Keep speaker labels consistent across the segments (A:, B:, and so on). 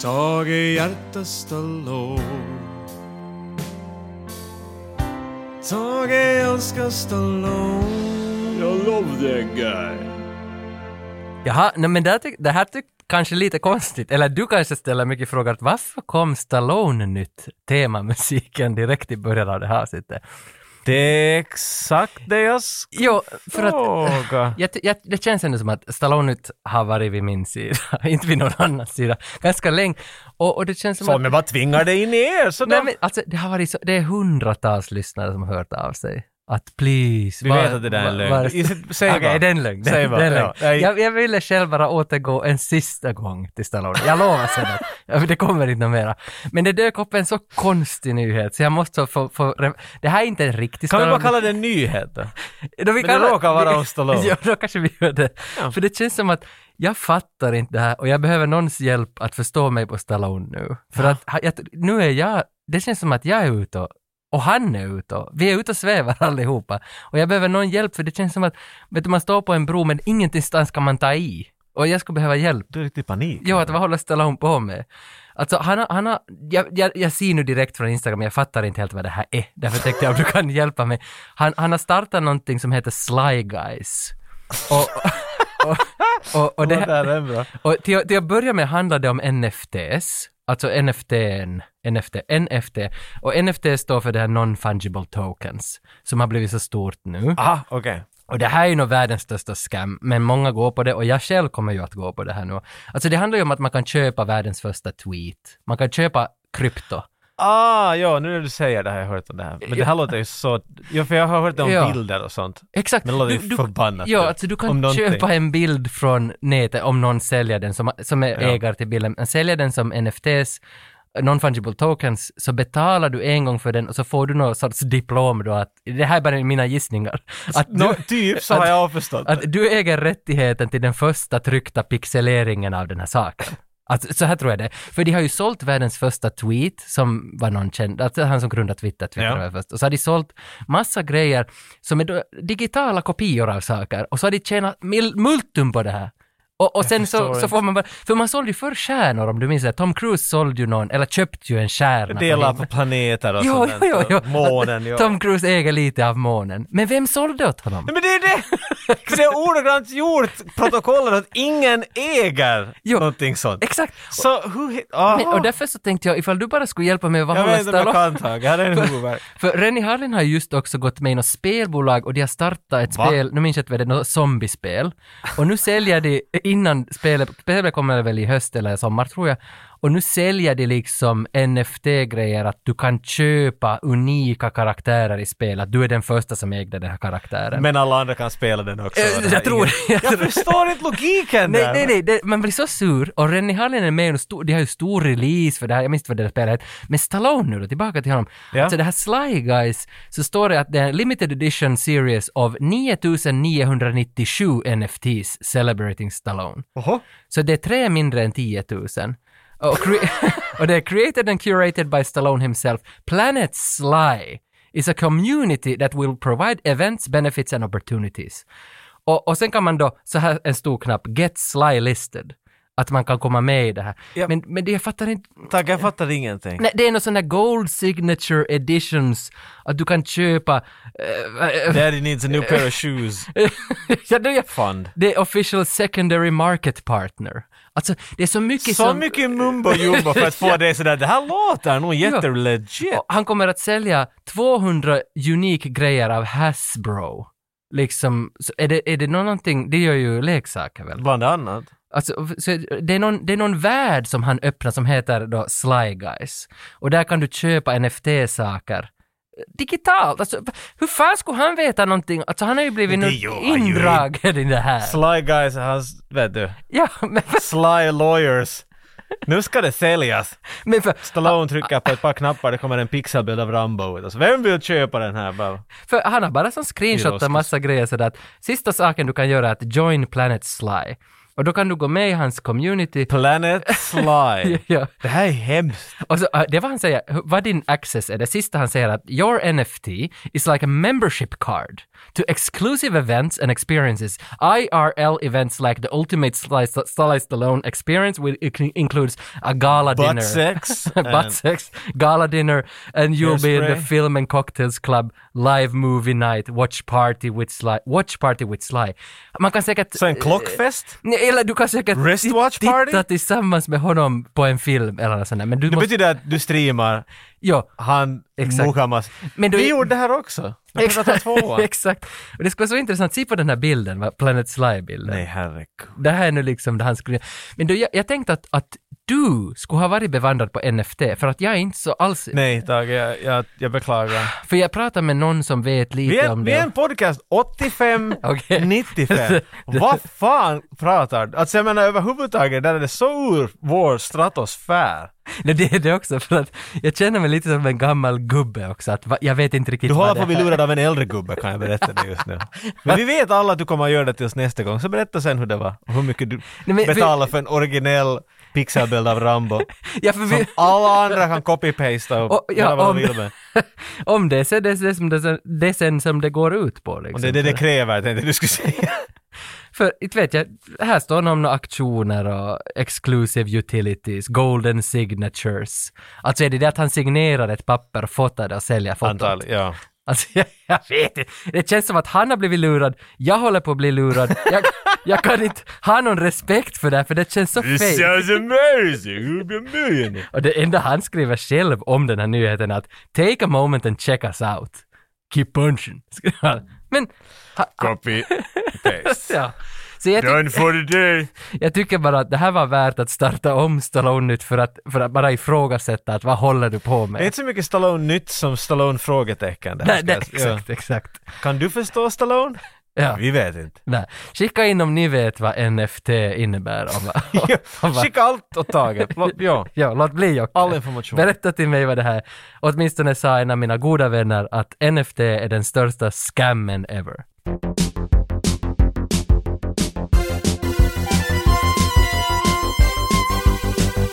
A: Tage hjärtas lov Tage älskar Stallone
B: I love that guy.
C: Jaha, nej, men det här, tyck, det här tyck, kanske lite konstigt, eller du kanske ställer mycket frågor, att varför kom Stallone nytt temamusiken direkt i början av det här avsnittet?
D: Det är exakt det jag ska
C: Jo, för att
D: fråga.
C: jag, ty- jag, det känns ändå som att Stallone nytt har varit vid min sida, inte vid någon annans sida, ganska länge. Och, och det känns som
D: Som
C: att...
D: jag bara tvingar dig in i er sådär.
C: Nej, men, alltså, det har varit så, det är hundratals lyssnare som har hört av sig. Att please,
D: Vi vet att det där är en lögn. I- Säg
C: Okej,
D: bara.
C: det är en lögn. Det,
D: Säg
C: det är
D: bara.
C: en lögn.
D: Ja, nej.
C: jag, jag ville själv bara återgå en sista gång till Stallone. Jag lovar sen att ja, men det kommer inte mera. Men det dök upp en så konstig nyhet så jag måste få... få re- det här är inte en riktig
D: Kan vi bara
C: Stallone-
D: kalla det en nyhet då?
C: då vi
D: Men det råkar vara om Stallone.
C: ja, då kanske vi gör det.
D: Ja.
C: För det känns som att jag fattar inte det här och jag behöver någons hjälp att förstå mig på Stallone nu. För att ha- jag, nu är jag, det känns som att jag är ute och, och han är ute och, vi är ute och svävar allihopa. Och jag behöver någon hjälp för det känns som att, vet du, man står på en bro men ingenstans kan man ta i. Och jag skulle behöva hjälp.
D: Du är riktigt panik.
C: Jo, att vad håller Stallone på med? Alltså, han har, han har, jag, jag, jag ser nu direkt från Instagram, jag fattar inte helt vad det här är. Därför tänkte jag om du kan hjälpa mig. Han, han har startat någonting som heter Sly Guys. Och, och, och, och,
D: det,
C: det,
D: där är bra.
C: och till, att- till att börja med handlade det om NFTs, alltså NFTn, NFT, NFT. Och NFT står för det här Non-Fungible Tokens, som har blivit så stort nu.
D: Ah, okej.
C: Och det här är ju nog världens största scam, men många går på det och jag själv kommer ju att gå på det här nu. Alltså det handlar ju om att man kan köpa världens första tweet. Man kan köpa krypto.
D: Ah, ja, nu när du säger det har jag hört om det här. Men det här låter ju så... Ja, för jag har hört det om
C: Ja.
D: bilder och sånt.
C: Exakt.
D: Men det låter ju
C: Du- du-
D: förbannat
C: Ja,
D: dumt.
C: alltså du
D: Om
C: kan
D: någonting.
C: köpa en bild från nätet om någon säljer den som, som är ägare till bilden. Men Säljer den som NFTs, non-fungible tokens, så betalar du en gång för den och så får du någon sorts diplom då att, det här är bara mina gissningar. Att du-
D: Nå, typ så har
C: att-
D: jag förstått det.
C: Att du äger rättigheten till den första tryckta pixeleringen av den här saken. Alltså, så här tror jag det. För de har ju sålt världens första tweet, som var någon känd, alltså han som grundade Twitter, Twitter
D: Ja.
C: var först. Och så har de sålt massa grejer som är då digitala kopior av saker. Och så har de tjänat mil- multum på det här. Och, och sen så,
D: förstår
C: så får man bara, för man sålde ju förr stjärnor om du minns det. Tom Cruise sålde ju någon, eller köpte ju en stjärna.
D: Delar
C: från-
D: på planeter och
C: Jo,
D: sånt.
C: jo, jo, jo.
D: och Månen, ja.
C: Tom Cruise äger lite av månen. Men vem sålde åt honom?
D: Nej, men det är det! För det är ordagrant gjort protokollet att ingen äger
C: Jo.
D: någonting sånt.
C: Exakt!
D: Så hur... hit- Aha.
C: Men, och därför så tänkte jag, ifall du bara skulle hjälpa mig, vad
D: jag
C: håller
D: vet inte om jag
C: Stallone?
D: kan Tage, här är en huvudvärk.
C: För Rennie Harlin har just också gått med i något spelbolag och de har startat ett
D: Va?
C: spel, nu minns jag inte vad det är, något zombiespel. Och nu säljer de, innan spelet, spelet kommer väl i höst eller i sommar tror jag, och nu säljer de liksom NFT-grejer att du kan köpa unika karaktärer i spel, att du är den första som ägde den här karaktären.
D: Men alla andra kan spela den också.
C: Eh,
D: och det här
C: jag
D: är
C: tror-
D: ingen- Jag förstår inte logiken
C: Nej,
D: där.
C: nej, nej, det, man blir så sur. Och Rennie Harlin är med och stor, de har ju stor release för det här, jag minns inte vad det där spelet heter. Men Stallone nu då, tillbaka till honom.
D: Ja.
C: Alltså det här Sly Guys, så står det att det är en limited edition series av 9997 NFTs celebrating Stallone.
D: Oho.
C: Så det är tre mindre än 10 000. Och, cre- och det är created and curated by Stallone himself. Planet Sly is a community that will provide events, benefits and opportunities. Och, och sen kan man då, så här en stor knapp, Get Sly listed. Att man kan komma med i det här.
D: Ja.
C: Men, men det jag fattar inte,
D: Tage, jag fattar ingenting.
C: nej, det är någon sån här Gold Signature Editions, att du kan köpa... eh, eh,
D: Daddy needs a new pair of shoes.
C: ja, det, är-
D: Fund.
C: det är official secondary market partner. Alltså, det är så mycket
D: Så
C: som...
D: mycket mumbo jumbo för att få det sådär. Det här låter nog jättelegit.
C: Och han kommer att sälja 200 unika grejer av Hasbro. Liksom, så är det, är det nå- någonting, det gör ju leksaker väl?
D: Bland annat.
C: Alltså, så är- det, är någon, det är någon värld som han öppnar som heter då Sly Guys. Och där kan du köpa NFT-saker. Digitalt, alltså hur fan skulle han veta någonting? Alltså han har ju blivit
D: Det
C: nu
D: gör han ju
C: indragen i det här.
D: Sly guys, hans... Vet du?
C: Ja, men,
D: Sly lawyers. Nu ska det säljas.
C: men för,
D: Stallone trycker på ett par knappar, det kommer en pixelbild av Rambo ut. Alltså, vem vill köpa den här? Bara,
C: För han har bara som screenshotat
D: Oscars.
C: massa grejer sådär att sista saken du kan göra är att join Planet Sly. Och då kan du gå med i hans community.
D: Planet Sly.
C: Ja.
D: Det här är hemskt.
C: Och så, äh, det var han säger, hu- vad din access är, det sista han säger att your NFT is like a membership card to exclusive events and experiences. IRL events like the ultimate Sly Sly Stallone experience will inc- includes a gala
D: Butt
C: dinner.
D: sex.
C: butt sex, gala dinner, and you'll be in the
D: Hairspray.
C: film and cocktails club, live movie night, watch party with Sly. Watch party with Sly. Man kan säkert... eh,
D: Så en klockfest?
C: Nej, Eller du kan säkert
D: Wristwatch
C: tit-
D: party?
C: titta tillsammans med honom på en film eller något sånt där. Men du
D: Det
C: måste...
D: betyder att du streamar
C: Ja,
D: han
C: Exakt.
D: Mukamas.
C: Men då-
D: Vi gjorde det här också. Vi pratade tvåan.
C: Exakt. Och det skulle vara så intressant, se på den här bilden, va? Planet Sly-bilden.
D: Nej herregud.
C: Det här är nu liksom det han skulle... Men du, jag, jag tänkte att, att du skulle ha varit bevandrad på NFT, för att jag är inte så alls...
D: Nej Tage, jag, jag, jag beklagar.
C: För jag pratar med någon som vet lite
D: Vi är,
C: om
D: vi
C: det.
D: är en podcast 85,
C: Okej.
D: 95. Vad fan pratar du? Alltså jag menar överhuvudtaget, där är det så ur vår stratosfär.
C: Nej, det är det också, för att jag känner mig lite som en gammal gubbe också, att va, jag vet inte riktigt
D: Du håller
C: vad
D: på att bli
C: det är.
D: lurad av en äldre gubbe kan jag berätta det just nu. Men vi vet alla att du kommer att göra det till oss nästa gång, så berätta sen hur det var. Och hur mycket du
C: men vi-
D: betalar för en originell pixelbild av Rambo.
C: Ja, för
D: Som
C: vi,
D: alla andra kan copy-pasta och
C: Och- ja,
D: göra vad de
C: om-
D: vill med.
C: om det så är det, det, som det, det sen som det går ut på liksom.
D: Och det är det det kräver, tänkte jag du skulle säga.
C: För inte vet jag, här står någon om några aktioner och exclusive utilities, golden signatures. Alltså är det det att han signerar ett papper, fotar det och säljer fotot?
D: Antal, ja.
C: Alltså jag, jag vet inte. Det känns som att han har blivit lurad, jag håller på att bli lurad. Jag, jag kan inte ha någon respekt för det här, för det känns så
B: This
C: fel.
B: sounds amazing. You'll be a millionaire.
C: Och det enda han skriver själv om den här nyheten är att “Take a moment and check us out. Keep punching”. skriver han. Men,
B: Copy. Paste.
C: ja. Så jag, ty-
B: Done for the day.
C: jag tycker bara att det här var värt att starta om Stallone nytt för att, för att bara ifrågasätta att vad håller du på
D: Det är
C: med?
D: inte så mycket Stallone-nytt som Stallone-frågetecken. där,
C: Nej,
D: ska
C: nej,
D: jag- ja.
C: exakt, exakt.
D: Kan du förstå Stallone?
C: Ja,
D: Vi vet inte.
C: nej. Skicka in om ni vet vad NFT innebär. Och vad, och vad,
D: Skicka allt åt Tage. Låt- Ja.
C: ja, låt bli Jocke.
D: All information.
C: Berätta till mig vad det här är. Åtminstone sa en av mina goda vänner att NFT är den största scammen ever.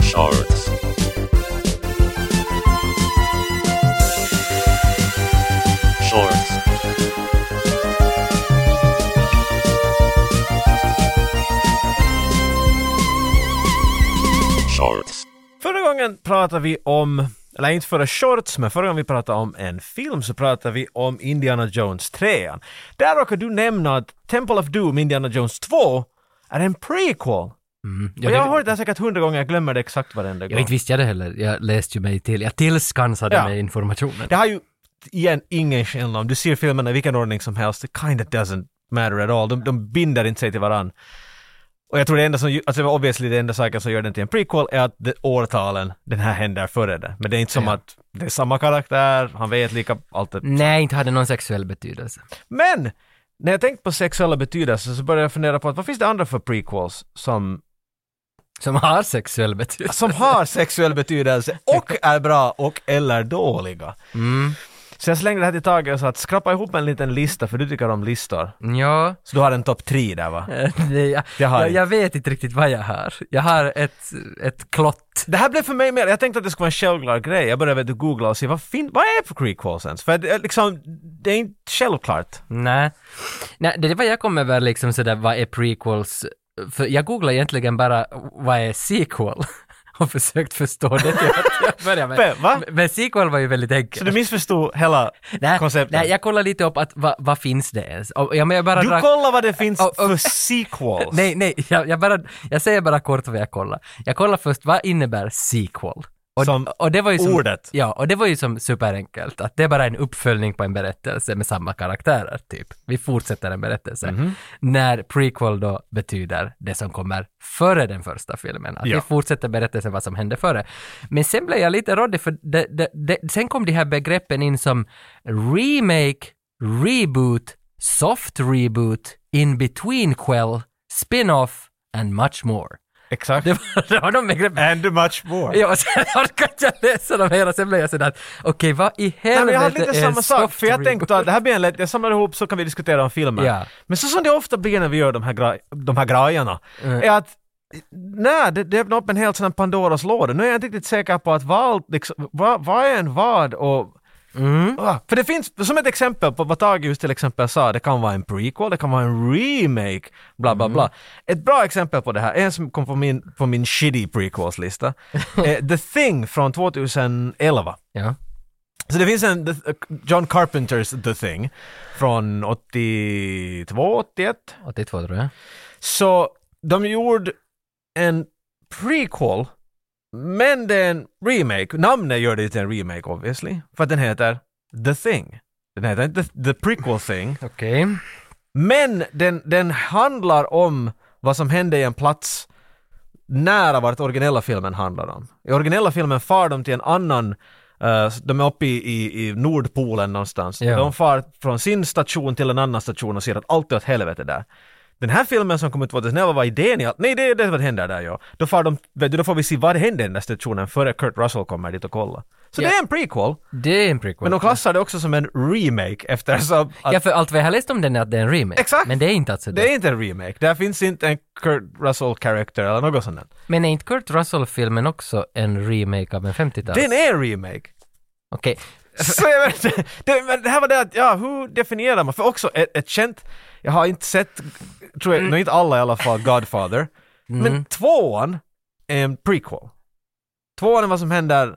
E: Shorts. Shorts. Shorts.
D: Förra gången pratade vi om, eller inte förra shorts, men förra gången vi pratade om en film så pratade vi om Indiana Jones 3. Där råkade du nämna att Temple of Doom, Indiana Jones 2, är en prequel.
C: Ja,
D: och jag
C: det-
D: har hört det här säkert hundra gånger, jag glömmer det exakt varenda gång.
C: Jag inte visste jag det heller. Jag läste ju mig till. Jag tillskansade
D: Ja.
C: mig informationen.
D: Det har ju igen ingen skillnad. Om du ser filmerna i vilken ordning som helst, it kind of doesn't matter at all. De, de binder inte sig till varann. Och jag tror det enda som, ju- alltså obviously det enda saken som gör den till en prequel är att det, årtalen, den här händer före det. Men det är inte som
C: Ja. Mm.
D: att det är samma karaktär, han vet lika, allt det.
C: Nej, inte hade någon sexuell betydelse.
D: Men! När jag tänkte på sexuella betydelser så började jag fundera på att vad finns det andra för prequels som,
C: Som har sexuell betydelse.
D: som har sexuell betydelse och är bra och eller dåliga?
C: Mm.
D: Så jag slängde det här till Tage och sa att skrapa ihop en liten lista för du tycker om listor.
C: Ja,
D: Så du har en topp tre där va?
C: eh, det, jag,
D: Alltså, Det har
C: jag,
D: jag.
C: jag vet inte riktigt vad jag har. Jag har ett, ett klott.
D: Det här blev för mig mer, jag tänkte att det skulle vara en självklar grej. Jag började vet du, googla och se vad, fin- vad är för prequels ens? För det, är liksom, det är inte självklart.
C: Nej. Nej, det är vad jag kommer över liksom sådär, vad är prequels? För jag googlar egentligen bara, vad är sequel? Och försökt förstå det till att jag börjar med.
D: Men, va?
C: Men sequel var ju väldigt enkelt.
D: Så du missförstod hela
C: Nej,
D: konceptet?
C: nej, jag kollar lite upp att vad vad finns det ens? Och, ja, men jag bara
D: Du
C: drar-
D: kollar vad det finns
C: Och- och-
D: för sequels?
C: Nej, nej, jag, jag, bara, jag säger bara kort vad jag kollar. Jag kollar först, vad innebär sequel? Och,
D: Som
C: och det var ju som,
D: ordet.
C: Ja, och det var ju som superenkelt, att det är bara en uppföljning på en berättelse med samma karaktärer, typ. Vi fortsätter en berättelse. När prequel då betyder det som kommer före den första filmen, att vi
B: Ja.
C: fortsätter berättelsen vad som hände före. Men sen blev jag lite råddig, för det, det, det, sen kom de här begreppen in som remake, reboot, soft reboot, in between quell, spin-off and much more.
D: Exakt.
C: Det var, det var de begreppen.
D: And much more.
C: Ja, och sen orkade jag läsa dem hela, sen blev jag sådär att okej, vad i
D: Nej, men
C: helvete
D: jag hade lite
C: är en
D: samma sak,
C: soft
D: för jag
C: reboot?
D: tänkte att det här blir en lätt, jag samlar ihop så kan vi diskutera om filmer.
C: Ja.
D: Men så som det ofta blir när vi gör de här, gra- de här grejerna,
C: Mm.
D: är att Nej, det, det öppnar upp en helt sån här Pandoras låda. Nu är jag inte riktigt säker på att vad, liksom, vad, vad är en vad och...
C: Mm.
D: Ah, För det finns, som ett exempel på vad Tage just till exempel sa, det kan vara en prequel, det kan vara en remake, bla
C: Mm.
D: bla bla. Ett bra exempel på det här, en som kom på min, på min shitty prequels-lista, är The Thing från 2011.
C: Ja.
D: Så det finns en The- John Carpenters The Thing från 82, 81.
C: 82 tror jag.
D: Så de gjorde en prequel, men det är en remake. Namnet gör det till en remake obviously, för att den heter The Thing. Den heter inte The, the Prequel Thing,
C: Okej.
D: men den, den handlar om vad som hände i en plats nära vart originella filmen handlar om. I originella filmen far de till en annan, eh, de är uppe i, i, i Nordpolen någonstans.
C: Ja.
D: De far från sin station till en annan station och ser att allt är åt helvete där. Den här filmen som kom ut 2011 var idén i att nej det är det vad händer där ja. Då far de, vet du, då får vi se vad hände i den där stationen före Kurt Russell kommer dit och kollar. Så
C: Ja.
D: det är en prequel,
C: Det är en prequel.
D: men de klassar det också som en remake eftersom att
C: ja, för allt vi har läst om den är att det är en remake.
D: Exakt.
C: Men det är inte alltså det.
D: det är inte en remake. Där finns inte en Kurt Russell character eller något sånt. där.
C: Men är inte Kurt Russell-filmen också en remake av en 50-tals?
D: Den är en remake.
C: Okej.
D: Så jag vet inte. det, men det här var det att, ja, hur definierar man? För också ett, ett känt, jag har inte sett, tror
C: Mm.
D: jag, nu inte alla i alla fall, Godfather. Men tvåan är en prequel. Tvåan är vad som händer,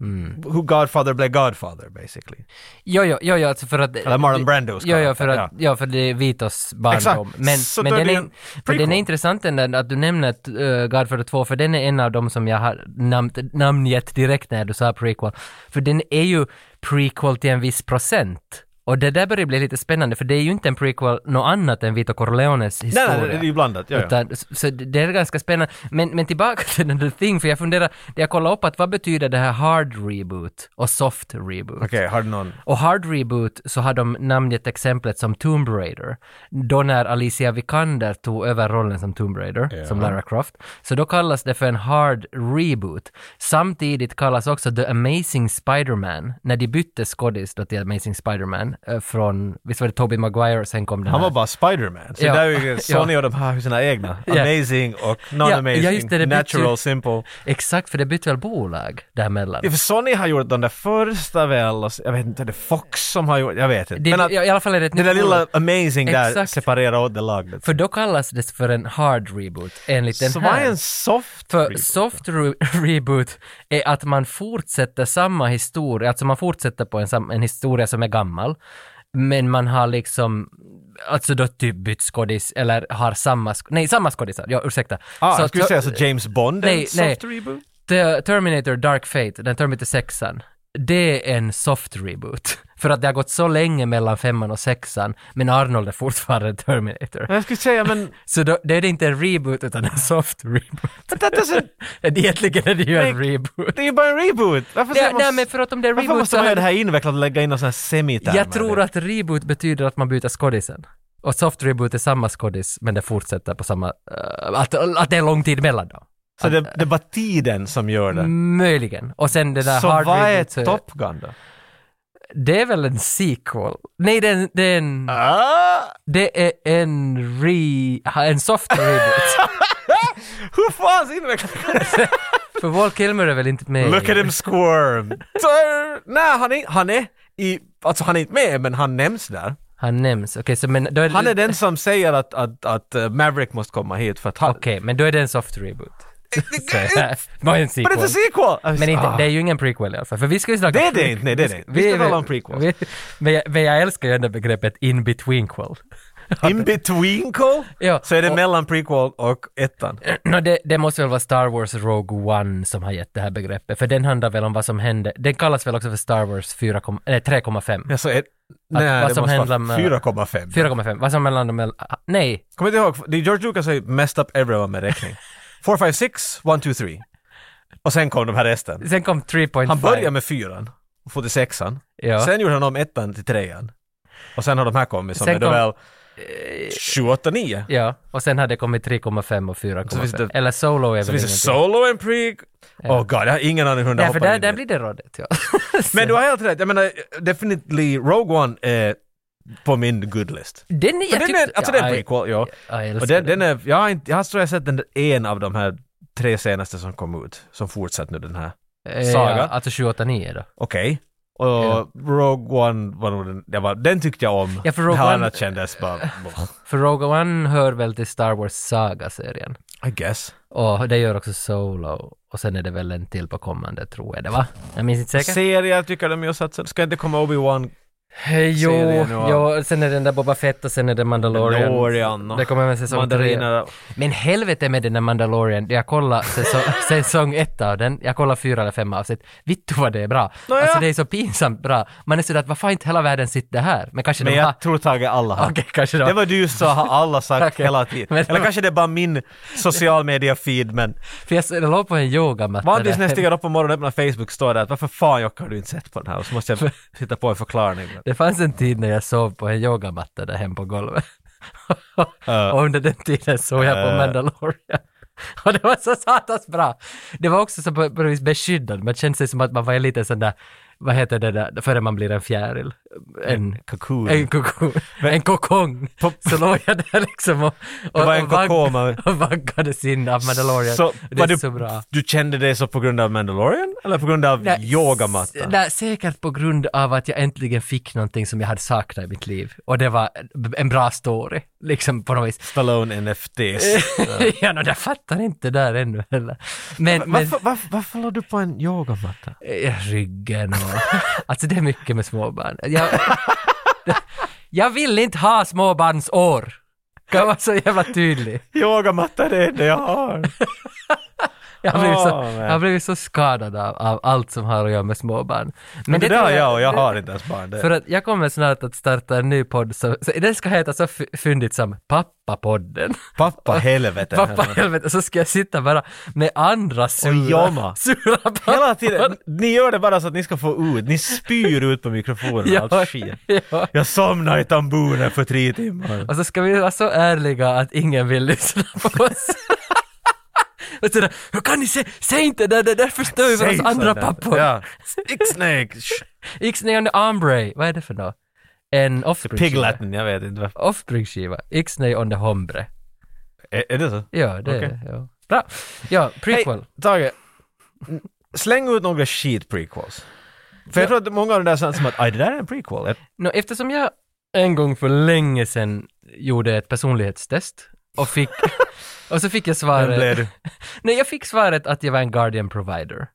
C: Mm.
D: hur Godfather blev Godfather basically.
C: Jo, jo, jo, jo, alltså för att...
D: Eller Marlon Brandos
C: Jo, jo, för
D: karaktär,
C: att, ja, för det är Vitos barndom.
D: Exakt.
C: Men,
D: Så
C: men
D: då är det
C: den, är,
D: en
C: för den är
D: prequel.
C: intressant den där, att du nämner att, eh, Godfather 2, för den är en av dem som jag har namn, namngett direkt när du sa prequel. För den är ju prequel till en viss procent. Och det där börjar bli lite spännande, för det är ju inte en prequel något annat än Vito Corleones
D: Nej,
C: historia.
D: nej, det är ju blandat. Ja, ja.
C: Utan, så- så det är ganska spännande. Men, men tillbaka till den där thing, för jag funderar, det jag kollade upp att vad betyder det här hard reboot och soft reboot?
D: Okej, har du någon?
C: Och hard reboot så har de namngett exemplet som Tomb Raider. Då när Alicia Vikander tog över rollen som Tomb Raider, som Lara Croft. Så då kallas det för en hard reboot. Samtidigt kallas också The Amazing Spider-Man, när de bytte skådis då till Amazing Spider-Man, eh, från, visst var det Tobey Maguire, sen kom den
D: Han var
C: här.
D: bara Spider-Man. Så
C: Ja.
D: där är ju
C: Ja.
D: Sony och de har ju sina egna.
C: Ja.
D: Amazing och non-amazing,
C: ja, just det, det bytte ju-
D: natural, simple.
C: Exakt, för det bytte väl bolag däremellan?
D: Ja, för Sony har gjort den där första väl, och s- jag vet inte, är det Fox som har gjort, jag vet inte.
C: Det,
D: Men att,
C: ja, I alla fall är det ett
D: det där
C: nytt
D: lilla
C: ord.
D: Amazing där
C: Exakt.
D: separerar åt det laget.
C: För då kallas det för en hard reboot enligt den
D: Så vad
C: här.
D: är en soft
C: för
D: reboot?
C: soft re- reboot är att man fortsätter samma historia, alltså man fortsätter på en, sam- en historia som är gammal, men man har liksom, alltså då typ bytt skådis eller har samma, sk- nej samma skådisar, ja ursäkta.
D: Ah,
C: Så
D: jag skulle
C: att-
D: säga så James Bond är
C: Nej,
D: en
C: nej.
D: soft reboot?
C: The Terminator Dark Fate, den Terminator 6an, det är en soft reboot. För att det har gått så länge mellan femman och sexan, men Arnold är fortfarande Terminator.
D: Men Jag skulle säga, men
C: Så då, det är inte en reboot utan en soft reboot.
D: but that doesn't,
C: Egentligen är det ju en
D: Nej,
C: reboot.
D: det är ju bara en reboot! Varför,
C: Nej,
D: säger man,
C: nej men för att om det är
D: varför
C: reboot
D: Alltså, måste
C: så...
D: man göra
C: Har,
D: det här invecklat och lägga in någon sån här semitermer?
C: jag tror att reboot betyder att man byter skådisen. Och soft reboot är samma skådis men det fortsätter på samma... eh, att, att det är lång tid mellan då.
D: Så det, det är bara tiden som gör det.
C: Möjligen. Och sen det där
D: Mm. Så
C: Mm, hard
D: vad är
C: reboot, typ. så-
D: Top Gun då?
C: det är väl en sequel? Nej, det är en... Det är en,
D: Ah,
C: det är en, re, en soft reboot.
D: hur fan invecklat
C: För Walt Kilmer är väl inte med i-
D: Look at him squirm! Så, nej, han är, han är i, alltså han är inte med, men han nämns där.
C: Han nämns. Okej, så men då är det...
D: Han är den som säger att, att, att eh, Maverick måste komma hit för att han...
C: Okej, men då är det en soft reboot. Så, Vad är en
D: But it's a
C: sequel?
D: sequel!
C: Men inte,
D: Ah,
C: det är ju ingen prequel i alla fall, för vi ska ju snacka...
D: Det är det inte, nej det är det inte. Vi ska tala om prequels.
C: vi- men, jag, men jag älskar ju ändå begreppet in betweenquel.
D: In between call?
C: Ja,
D: Så är det
C: och-
D: mellan prequel och ettan.
C: No, det, det måste väl vara Star Wars Rogue One som har gett det här begreppet, för den handlar väl om vad som hände, den kallas väl också för Star Wars 4, nej, 3,5.
D: Ja, så är, nej,
C: vad
D: det
C: som
D: måste
C: händer
D: vara
C: med-
D: 4,5.
C: 4,5, vad som mellan dem är, ah, nej,
D: Kom inte ihåg, det är George Lucas har ju messed up everyone med räkning. 4, 5, 6, 1, 2, 3. Och sen kom de här resten.
C: sen kom 3.5.
D: Han började med fyran, och får till sexan.
C: Ja.
D: Sen gjorde han om ettan till trean. Och sen har de här kommit som
C: Sen
D: är då
C: kom- Eh,
D: väl 7, 8, 9.
C: Ja, och sen hade det kommit 3,5 och
D: Så finns
C: 4,5.
D: det-
C: Eller Solo är
D: Så
C: väl
D: finns det
C: ingenting.
D: solo and pre... Åh oh god, jag har ingen aning hur den där
C: Nej, för
D: hoppar
C: där,
D: in i.
C: där blir det rådigt. Ja.
D: Men du har helt rätt, jag menar definitely Rogue One är på min good list.
C: den,
D: För
C: jag
D: den
C: tyckte-
D: är, alltså den
C: typ- ja,
D: är
C: jag-
D: prequel, ja.
C: ja, jag
D: Och
C: älskar
D: den, den är, jag har inte, jag har tror jag sett den där en av de här tre senaste som kom ut, som fortsatt nu den här.
C: Eh,
D: saga.
C: Ja, alltså 789 då.
D: Okej. Och
C: Ja.
D: Rogue One var nog den, det var, den tyckte jag om.
C: Ja, för Rogue
D: det här
C: One-
D: annat kändes bara,
C: För Rogue One hör väl till Star Wars Saga-serien.
D: I guess.
C: Och det gör också Solo. Och sen är det väl en till på kommande, tror jag det va? Jag minns inte säkert.
D: Serier tycker de ju satsa, ska inte komma Obi-Wan?
C: Hej, jo,
D: serien och-
C: jo, sen är det den där Boba Fett och sen är det Mandalorian.
D: Mandalorian och
C: Det kommer med säsong tre.
D: Mandariner.
C: Men helvete med den där Mandalorian. Jag kollade säsong, säsong ett av den. Jag kollade fyra eller fem avsnitt. Vittu vad det är bra.
D: Nåja.
C: Alltså det är så pinsamt bra. Man är sådär att varför har inte hela världen sitter här? Men kanske
D: Men
C: de har...
D: jag tror Tage alla har.
C: Okej, kanske de
D: Det var du just så har alla sagt
C: Okej.
D: hela tiden.
C: Men-
D: Eller kanske det är bara min social media feed men
C: För jag s- jag låg på en yogamatta
D: vanligtvis
C: där.
D: när jag stiger upp på morgonen och öppnar Facebook står det att varför fan Jocke har du inte sett på den här? Och så måste jag hitta på en förklaring.
C: Det fanns en tid när jag sov på en yogamatta där hem på golvet. och under den tiden såg jag på
D: Eh.
C: Mandalorian. och det var så satans bra. Det var också så på på något vis beskyddad. Man kände sig som att man var en liten sån där, vad heter det där, före man blir en fjäril. En,
D: Cocoon.
C: en kokong. En kokong. Så låg jag där liksom och, och,
D: Det var en
C: och, vagg-
D: kokoma.
C: och vaggades in av Mandalorian.
D: Så,
C: det är
D: var du,
C: så bra.
D: Du kände dig så på grund av Mandalorian eller på grund av
C: Nej, s-
D: yogamattan?
C: Nej, säkert på grund av att jag äntligen fick någonting som jag hade saknat i mitt liv. Och det var en bra story, liksom på något vis.
D: Stallone NFTs.
C: ja, no, jag fattar inte där ännu heller. Men, men
D: Varför, varför, varför la du på en yogamatta?
C: eh, ryggen och... alltså det är mycket med småbarn. Jag, jag vill inte ha småbarnsår. Kan vara så jävla tydlig.
D: Yogamatta är det enda jag har.
C: Jag har blivit så,
D: Åh, men.
C: jag har blivit så skadad av, av allt som har att göra med småbarn. Men,
D: Men det, där
C: tror
D: har jag och jag har inte ens barn. Det.
C: För att jag kommer snart att starta en ny podd, så, så den ska heta så f- fyndigt som Pappapodden.
D: Pappa helvete.
C: Pappa helvete, så ska jag sitta bara med andra sura,
D: jamma.
C: sura pappor.
D: Hela tiden, ni gör det bara så att ni ska få ut, ni spyr ut på mikrofonen
C: Ja,
D: allt skit.
C: ja.
D: Jag somnade i tamburen för tre timmar.
C: Och så ska vi vara så ärliga att ingen vill lyssna på oss. Och sådär, hur kan ni säga, säg inte det, det där förstör ju för oss
D: Säg
C: andra
D: sådär.
C: pappor.
D: Ja. Ixnake, sh-
C: Ixnay on the ombre, vad är det för något? En offspring-skiva.
D: Pigletten, jag vet inte. vad-
C: Offspring-skiva, Ixnay on the hombre.
D: Är, är det så?
C: Ja, det är
D: Okej.
C: det. Ja. Bra. Ja, prequel.
D: Hej, Tage. Mm, Släng ut några shit prequels. För jag tror att många av de där känns som att aj, det där är en prequel. Ett-
C: Nå, eftersom jag en gång för länge sedan gjorde ett personlighetstest och fick... och så fick jag
D: Vem blev
C: svaret...
D: du?
C: Nej, jag fick svaret att jag var en Guardian Provider.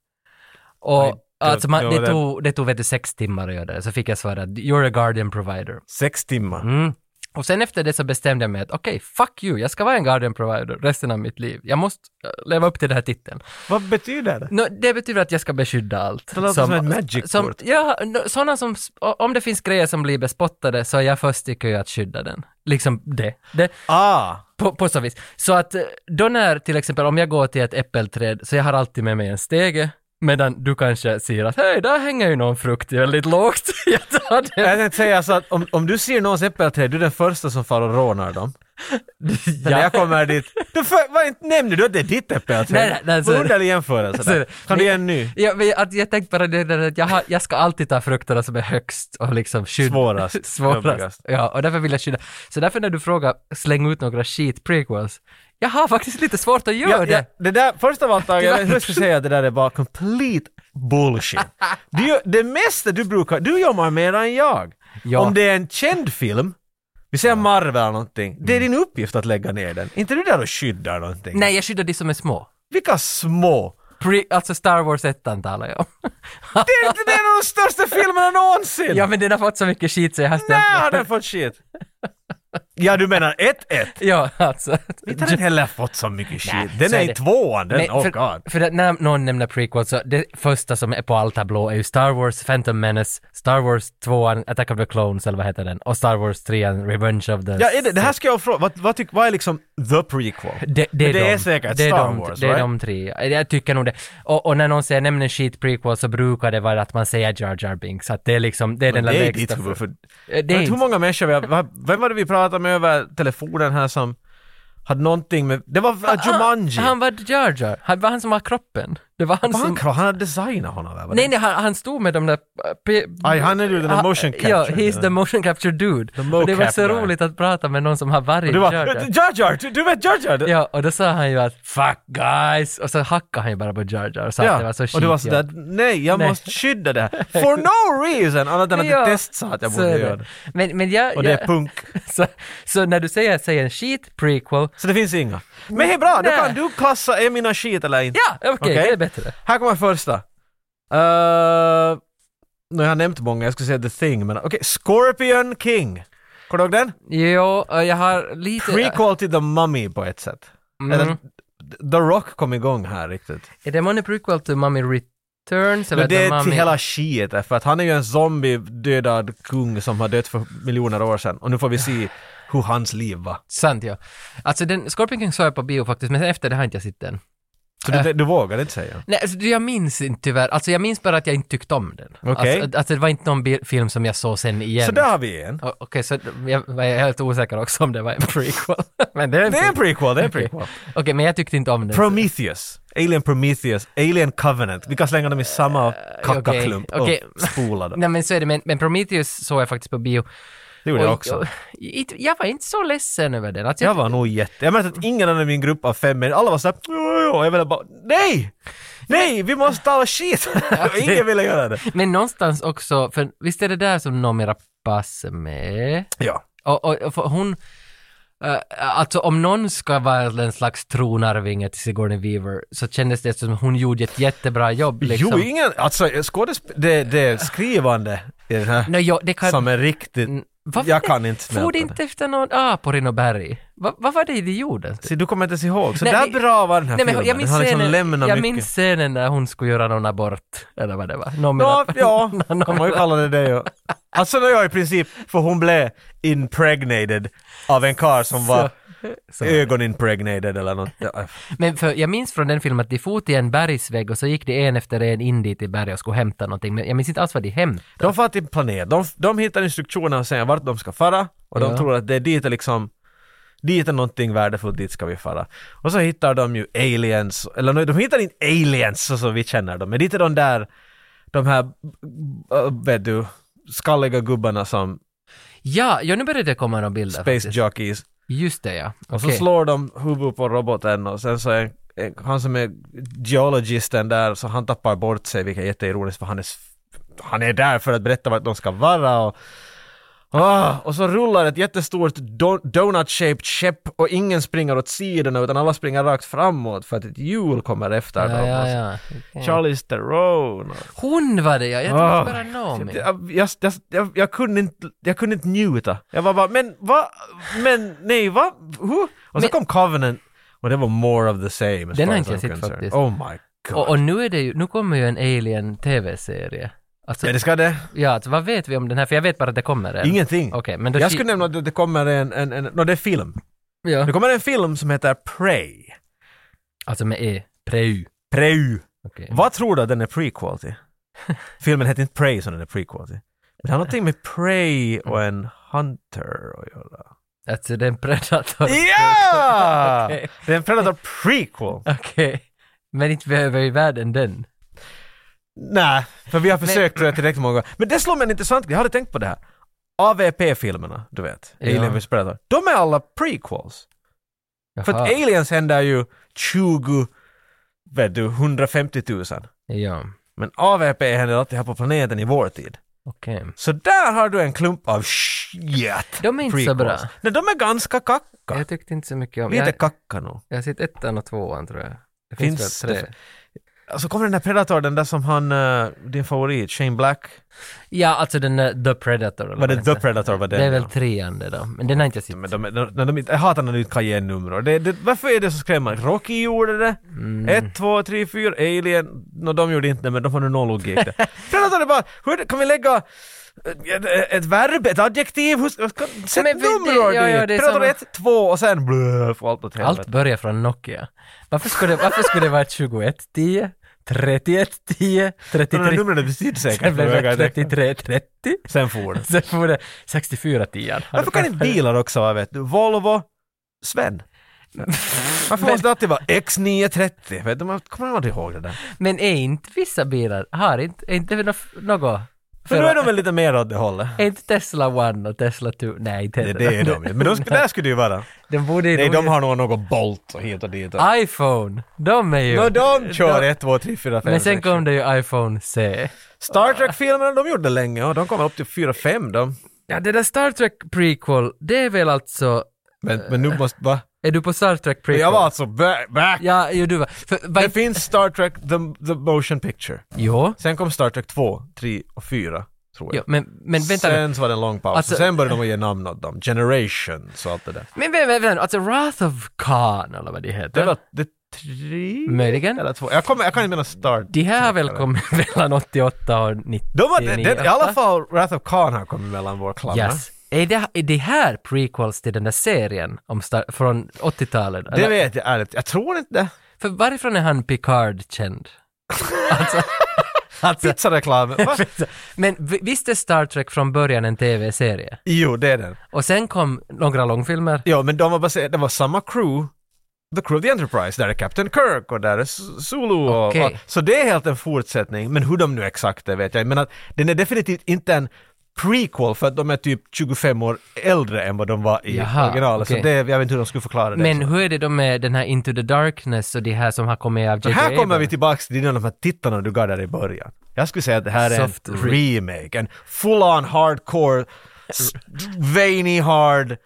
C: Och
D: Oj, det-
C: alltså man,
D: det
C: det,
D: var det.
C: tog, det tog vet du, sex timmar att göra det, så fick jag svaret att you're a Guardian Provider.
D: Sex timmar.
C: Mm. Och sen efter det så bestämde jag mig att okej, fuck you, jag ska vara en Guardian Provider resten av mitt liv. Jag måste eh, leva upp till den här titeln.
D: Vad betyder det?
C: Nå, det betyder att jag ska beskydda allt.
D: Det låter som ett magic
C: som,
D: word.
C: ja, nå, sådana som, s- o- om det finns grejer som blir bespottade så är jag först i kö att skydda den. Liksom det. det
D: Ah!
C: på, på så vis. Så att eh, då när till exempel om jag går till ett äppelträd så jag har alltid med mig en stege medan du kanske ser att hej, där hänger ju någon frukt väldigt lågt. jag tar
D: Jag
C: den.
D: tänkte säga så att om, om du ser någons äppelträd, du är den första som far och rånar dem. Men Eh, när jag kommer dit, du för, vad inte nämnde du att det är ditt äppelträd?
C: Nej, nej, nej, så-
D: Vad underlig jämförelse
C: Så är
D: där.
C: det.
D: Kan du
C: Men-
D: ge en ny?
C: Ja, men att jag tänkte bara det där att jag, har, jag ska alltid ta frukterna som är högst och liksom skydda.
D: Svårast.
C: Svårast.
D: Jobbigast.
C: Ja, och därför vill jag skydda. Så därför när du frågar, släng ut några shit prequels. Jag har faktiskt lite svårt att göra
D: Ja, ja,
C: det.
D: det där, först av allt, Tage, jag vet inte hur jag ska säga att det där är bara complete bullshit. Du, gör- det mesta du brukar, du jobbar mer än jag.
C: Ja.
D: Om det är en känd film, vi säger Marvel eller någonting, det är din uppgift att lägga ner den. Inte du där och skyddar någonting.
C: Mm. Nej, jag skyddar de som är små.
D: Vilka små!
C: Pre, alltså Star Wars 1 talar jag om.
D: Det är, det är en av de största filmerna någonsin!
C: ja, men den har fått så mycket shit så jag har ställt
D: Nej, har den fått shit? Ja, du menar 1-1?
C: Ja, alltså.
D: Inte har den heller fått så mycket shit.
C: Nej,
D: den
C: så
D: är
C: är
D: i
C: det.
D: tvåan, den.
C: Nej,
D: oh god.
C: för, för att när någon nämner prequel så det första som är på allt tablå är ju Star Wars, Phantom Menace, Star Wars 2, Attack of the Clones eller vad heter den? Och Star Wars 3, Revenge of the...
D: Ja, är det, det här ska jag fråga, vad, vad, tyck, vad är liksom the prequel?
C: Det, det,
D: Men
C: är,
D: det
C: de,
D: är säkert
C: det är
D: Star
C: de,
D: Wars,
C: Det är
D: right?
C: de tre. Jag tycker nog det. Och, och när någon säger nämner shit prequel så brukar det vara att man säger Jar Jar Binks. Att det är liksom, det är
D: Men
C: den
D: det
C: där
D: är
C: lägsta.
D: ditt huvud, för...
C: Eh,
D: Det
C: Det är
D: hur
C: inte.
D: många människor vi har, vad- vem var det vi pratade mig över telefonen här som hade någonting med... Det var ah, Jumanji!
C: Han var Jar Jar. Han var han som var kroppen. Det var han
D: Var han,
C: som...
D: kvar? han hade designat honom eller? vad
C: Nej,
D: det-
C: nej, han, han stod med de där... äh, P-
D: Aj, han är ju den där
C: Ah,
D: motion capture.
C: Ja, he's the motion capture dude.
D: The mocap
C: och det var så
D: guy.
C: roligt att prata med någon som har varit
D: Du bara,
C: Jar Jar.
D: Jar Jar! Du, du vet Jar Jar! Det-
C: Ja, och då sa han ju att “fuck guys” och så hackade han ju bara på Jar Jar och sa att det var så
D: och du var
C: skitjobb.
D: sådär, nej, jag
C: Nej.
D: måste skydda det här. For no reason! Annat än att
C: Ja,
D: ett test sa att jag
C: så
D: borde
C: är det.
D: göra det.
C: Men, men jag...
D: Och det är
C: jag-
D: punk.
C: så, så när du säger, säger en shit prequel,
D: Så det finns inga. Men hej bra, då
C: Nej.
D: kan du klassa är mina skit eller inte.
C: ja, okej,
D: Okej.
C: det är bättre.
D: Här kommer första. Uh, nu har jag nämnt många, jag skulle säga The Thing, men okej. Scorpion King. Kommer du ihåg den?
C: Jo, eh, jag har lite...
D: Prequel till The Mummy på ett sätt. Eller,
C: Mm.
D: The Rock kom igång här riktigt.
C: Är det månne prequel till Mummy Returns eller
D: Men det
C: The
D: är till
C: Mummy?
D: hela shit, för att han är ju en zombie dödad kung som har dött för miljoner år sedan. Och nu får vi se hur hans liv var.
C: Sant ja. Alltså den, Scorpion King såg jag på bio faktiskt, men efter det har inte jag sett den.
D: Så du,
C: Eh.
D: du vågade inte säga?
C: Nej, alltså, jag minns inte tyvärr. Alltså jag minns bara att jag inte tyckte om den.
D: Okej.
C: Alltså, alltså det var inte någon bi- film som jag såg sen igen.
D: Så där har vi en.
C: O- Okej, så jag var jag helt osäker också om det var en prequel. men det är en
D: Det är en
C: prequel.
D: prequel, det är en prequel.
C: Okej, men jag tyckte inte om den.
D: Prometheus. Alien Prometheus. Alien Covenant. Vi kan slänga dem i samma kackaklump
C: Eh, okej, okej.
D: och spola dem.
C: Nej men så är det, men, men Prometheus såg jag faktiskt på bio.
D: Det gjorde jag
C: Och-
D: också.
C: och- inte- jag var inte så ledsen över den. Alltså,
D: Jag var nog jätte... Jag märkte att ingen annan i min grupp av fem män, alla var såhär "Jo, jo", jag ville bara nej! Nej, vi måste ta skit! Och ingen ville göra det.
C: Men någonstans också, för visst är det där som Noomi Rapace är med?
D: Ja.
C: Och, och, och för hon, eh, alltså om någon ska vara en slags tronarvinge till Sigourney Weaver så kändes det som hon gjorde ett jättebra jobb liksom.
D: Jo, ingen... Alltså skådesp... Det, det är skrivande i den här
C: Nej, jag, det kan...
D: som är riktigt...
C: Mm, varför-
D: Jag kan inte smälta
C: For det
D: det.
C: inte efter någon ah, A på Rinnoberg? Va, vad var det de gjorde?
D: Se, du kommer inte ens ihåg. Så
C: Nej,
D: där
C: men-
D: bra var den här
C: Nej, men
D: filmen.
C: jag minns,
D: den har liksom
C: scenen,
D: lämnat
C: jag
D: mycket.
C: minns scenen när hon skulle göra någon abort, eller vad det var. Någon med
D: Ja,
C: rapp-
D: ja,
C: någon
D: kan man
C: med-
D: ju kalla det det ja. Alltså när jag i princip, för hon blev impregnated av en karl som var
C: så.
D: ögonimpregnated eller något. Ja,
C: Men för, jag minns från den filmen att de for till en bergsvägg och så gick det en efter en in dit i berget och skulle hämta någonting. Men jag minns inte alls vad de hämtade.
D: De far till en planet, de, de hittar instruktioner och säger vart de ska fara och de
C: Ja.
D: tror att det är dit är liksom Dit är någonting värdefullt, dit ska vi fara. Och så hittar de ju aliens, eller nej, de hittar inte aliens så som vi känner dem, men dit är de där, de här, äh, vet du, skalliga gubbarna som
C: Ja, ja nu började det komma några bilder.
D: space
C: faktiskt.
D: jockeys
C: Just det ja.
D: Och så
C: Okej.
D: slår de huvudet på roboten och sen så är är han som är geologisten där så han tappar bort sig vilket är jätteironiskt för han är, s- han är där för att berätta vart de ska vara och Ah, och så rullar ett jättestort do- donut-shaped skepp och ingen springer åt sidorna utan alla springer rakt framåt för att ett hjul kommer efter
C: ja,
D: dem. alltså.
C: ja,
D: Och så-
C: ja. Okej.
D: Charlize Theron. och-
C: Hon var det ja, jag
D: Ah.
C: tänkte bara Naomi.
D: jag, jag, jag, jag, jag, kunde inte, jag kunde inte njuta. Jag var bara, men va? Men nej, va? Huh? Och sen kom Covenant och det var more of the same. as
C: Den
D: far
C: har
D: as
C: inte jag
D: I'm
C: sett
D: concerned.
C: faktiskt.
D: Oh my god.
C: Och, och nu är det ju, nu kommer ju en Alien TV-serie. Alltså,
D: ja, det ska det.
C: ja, alltså vad vet vi om den här? För jag vet bara att det kommer en.
D: Ingenting.
C: Okej, men då...
D: Jag
C: ki-
D: skulle nämna att det kommer en, en, en no, det är film.
C: Ja.
D: Det kommer en film som heter Prey.
C: Alltså med E. Preu.
D: Prey.
C: Okej.
D: Vad tror du att den är prequel till? Filmen heter inte Prey som den är prequel till. Men det har någonting med Prey och en Hunter att göra.
C: Alltså det är en predator.
D: E- Ja!
C: Okej.
D: Det är en Predator prequel.
C: Okej. Men inte behöver ju världen den.
D: Nej, för vi har försökt tror jag tillräckligt många gånger. Men det slår mig en intressant grej, jag hade tänkt på det här. AVP-filmerna, du vet,
C: Ja.
D: Alien vs Predator, de är alla prequels. För att E- aliens händer ju 20, vet du, 150 000.
C: Ja,
D: Men AVP händer alltid här på planeten i vår tid.
C: okej.
D: Så där har du en klump av shit
C: De är inte så bra.
D: Nej, de är ganska kacka.
C: Jag tyckte inte så mycket om...
D: Lite
C: Jag,
D: kacka nog.
C: jag har sett ettan och tvåan tror jag. Det
D: Finns
C: finns, väl
D: det
C: tre?
D: Alltså kommer den där Predator, den där som han, eh, din favorit, Shane Black.
C: Ja, alltså den där The Predator. eller
D: Var det
C: vad den
D: The
C: heter.
D: Predator? Var det,
C: Det är
D: ja.
C: väl trean det då, men den har inte jag sett.
D: Men de, de, de, de, jag hatar när du inte kan ge nummer. Det, det, varför är det så skrämmande? Rocky gjorde det.
C: Mm.
D: Ett, två, tre, fyra. Alien. No, de gjorde inte det, men de har nu noll logik där. Predator är bara, hur, kan vi lägga eh, ett, ett verb, ett adjektiv? Hur, ska- ska, sätt
C: Men för det-
D: nummer
C: ja, ja, det
D: dit!
C: är
D: Predator
C: samma-
D: ett, två och sen blöf och allt åt helvete.
C: Allt börjar från Nokia. Varför skulle, varför skulle det vara 2110? 3110,
D: De där
C: 33...
D: numren är
C: Sen
D: betydelsesäkra.
C: blev det 3330.
D: Sen for det.
C: Sen får det 6410.
D: Varför kan inte bilar också vara, vet du? Volvo, Sven. Varför måste det alltid vara X930? Vet du, man kommer aldrig ihåg det där.
C: Men är inte vissa bilar, har inte, är inte nå- något?
D: För nu är de väl lite mer åt det hållet?
C: Är inte Tesla One och Tesla Two? Nej, inte
D: Det,
C: heller.
D: det är de ju. Men de, sk- där skulle det ju vara.
C: de borde ju-
D: Nej, de har nog något Bolt och hit och dit. Och.
C: iPhone! De är ju...
D: Nå, de kör 1, 2, 3, 4, 5,
C: Men sen kom det ju iPhone C.
D: Star Trek-filmerna de gjorde länge och de kom upp till 4, 5 de.
C: Ja, det där Star Trek prequel, det är väl alltså...
D: Men, men nu måste... Va?
C: Är du på Star Trek prequel?
D: Jag var alltså ba- back.
C: Ja, ju du var. För,
D: Det
C: var
D: finns Star Trek the, the Motion Picture.
C: jo,
D: Sen kom Star Trek 2, 3 och 4, tror
C: jo,
D: jag.
C: men, men vänta nu.
D: Sen så var det en lång paus.
C: Alltså-
D: och sen började de ge namn åt dem. Generations och allt det där.
C: Men vem, vem, vem, alltså Wrath of Khan eller vad de heter.
D: Det var det tre...
C: Möjligen.
D: Eller två. Jag, kommer, jag kan inte minnas Star
C: De här har väl
D: Trek.
C: kommit mellan 88 och 90.
D: De var, det,
C: ni
D: det, I alla
C: åtta.
D: fall Wrath of Khan har kommit mellan vår klamm.
C: Yes. Är det, är det här prequels till den där serien om Star, från 80-talet?
D: Det
C: Eller-
D: vet jag ärligt. Jag tror inte det.
C: För varifrån är han Picard känd? alltså, alltså
D: Pizzareklam. Va?
C: men vi- visst är Star Trek från början en tv-serie?
D: jo, det är den.
C: Och sen kom några långfilmer?
D: Ja, men de var baserade, det var samma crew, The Crew of the Enterprise, där är Captain Kirk och där är S- Zulu och,
C: Okej.
D: och, Så det är helt en fortsättning, men hur de nu exakt är vet jag Men att den är definitivt inte en prequel för att de är typ 25 år äldre än vad de var i
C: Jaha,
D: originalet.
C: okej.
D: Så det, jag vet inte hur de skulle förklara det.
C: Men
D: så.
C: hur är det då med den här Into the Darkness och det här som har kommit av
D: Så
C: J.J.
D: här kommer vi
C: Abrams?
D: tillbaks till dina de här tittarna du gav där i början. Jag skulle säga att det här är
C: Soft
D: en
C: re-
D: remake, en full-on hardcore, s- veiny hard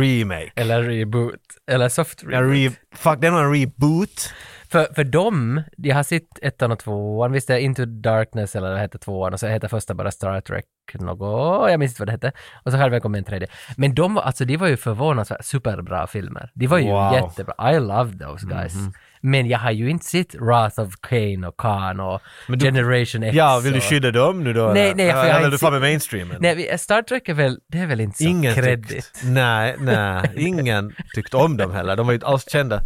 D: remake.
C: Eller reboot, eller soft
D: En
C: reboot.
D: re- fuck, det är nog en reboot.
C: För, för dem, jag har sett ettan och tvåan, visst det är Into Darkness eller vad hette tvåan och så hette första bara Star Trek något, jag minns inte vad det hette. Och så har det väl kommit en tredje. Men de var, alltså de var ju förvånansvärt superbra filmer. De var ju
D: Wow. Mhm.
C: jättebra. I love those guys. Men jag har ju inte sett Wrath of Kane och Khan och
D: du-
C: Generation X.
D: Ja, vill du
C: och-
D: skydda dem nu då?
C: Nej,
D: eller?
C: nej, för
D: Eller
C: jag har
D: vill
C: inte
D: du fara med
C: sett-
D: mainstreamen?
C: Nej, vi- Star Trek är väl, det är väl inte så
D: ingen
C: kreddigt.
D: tyckte, nej, nej, ingen tyckte om dem heller. De var ju inte alls kända.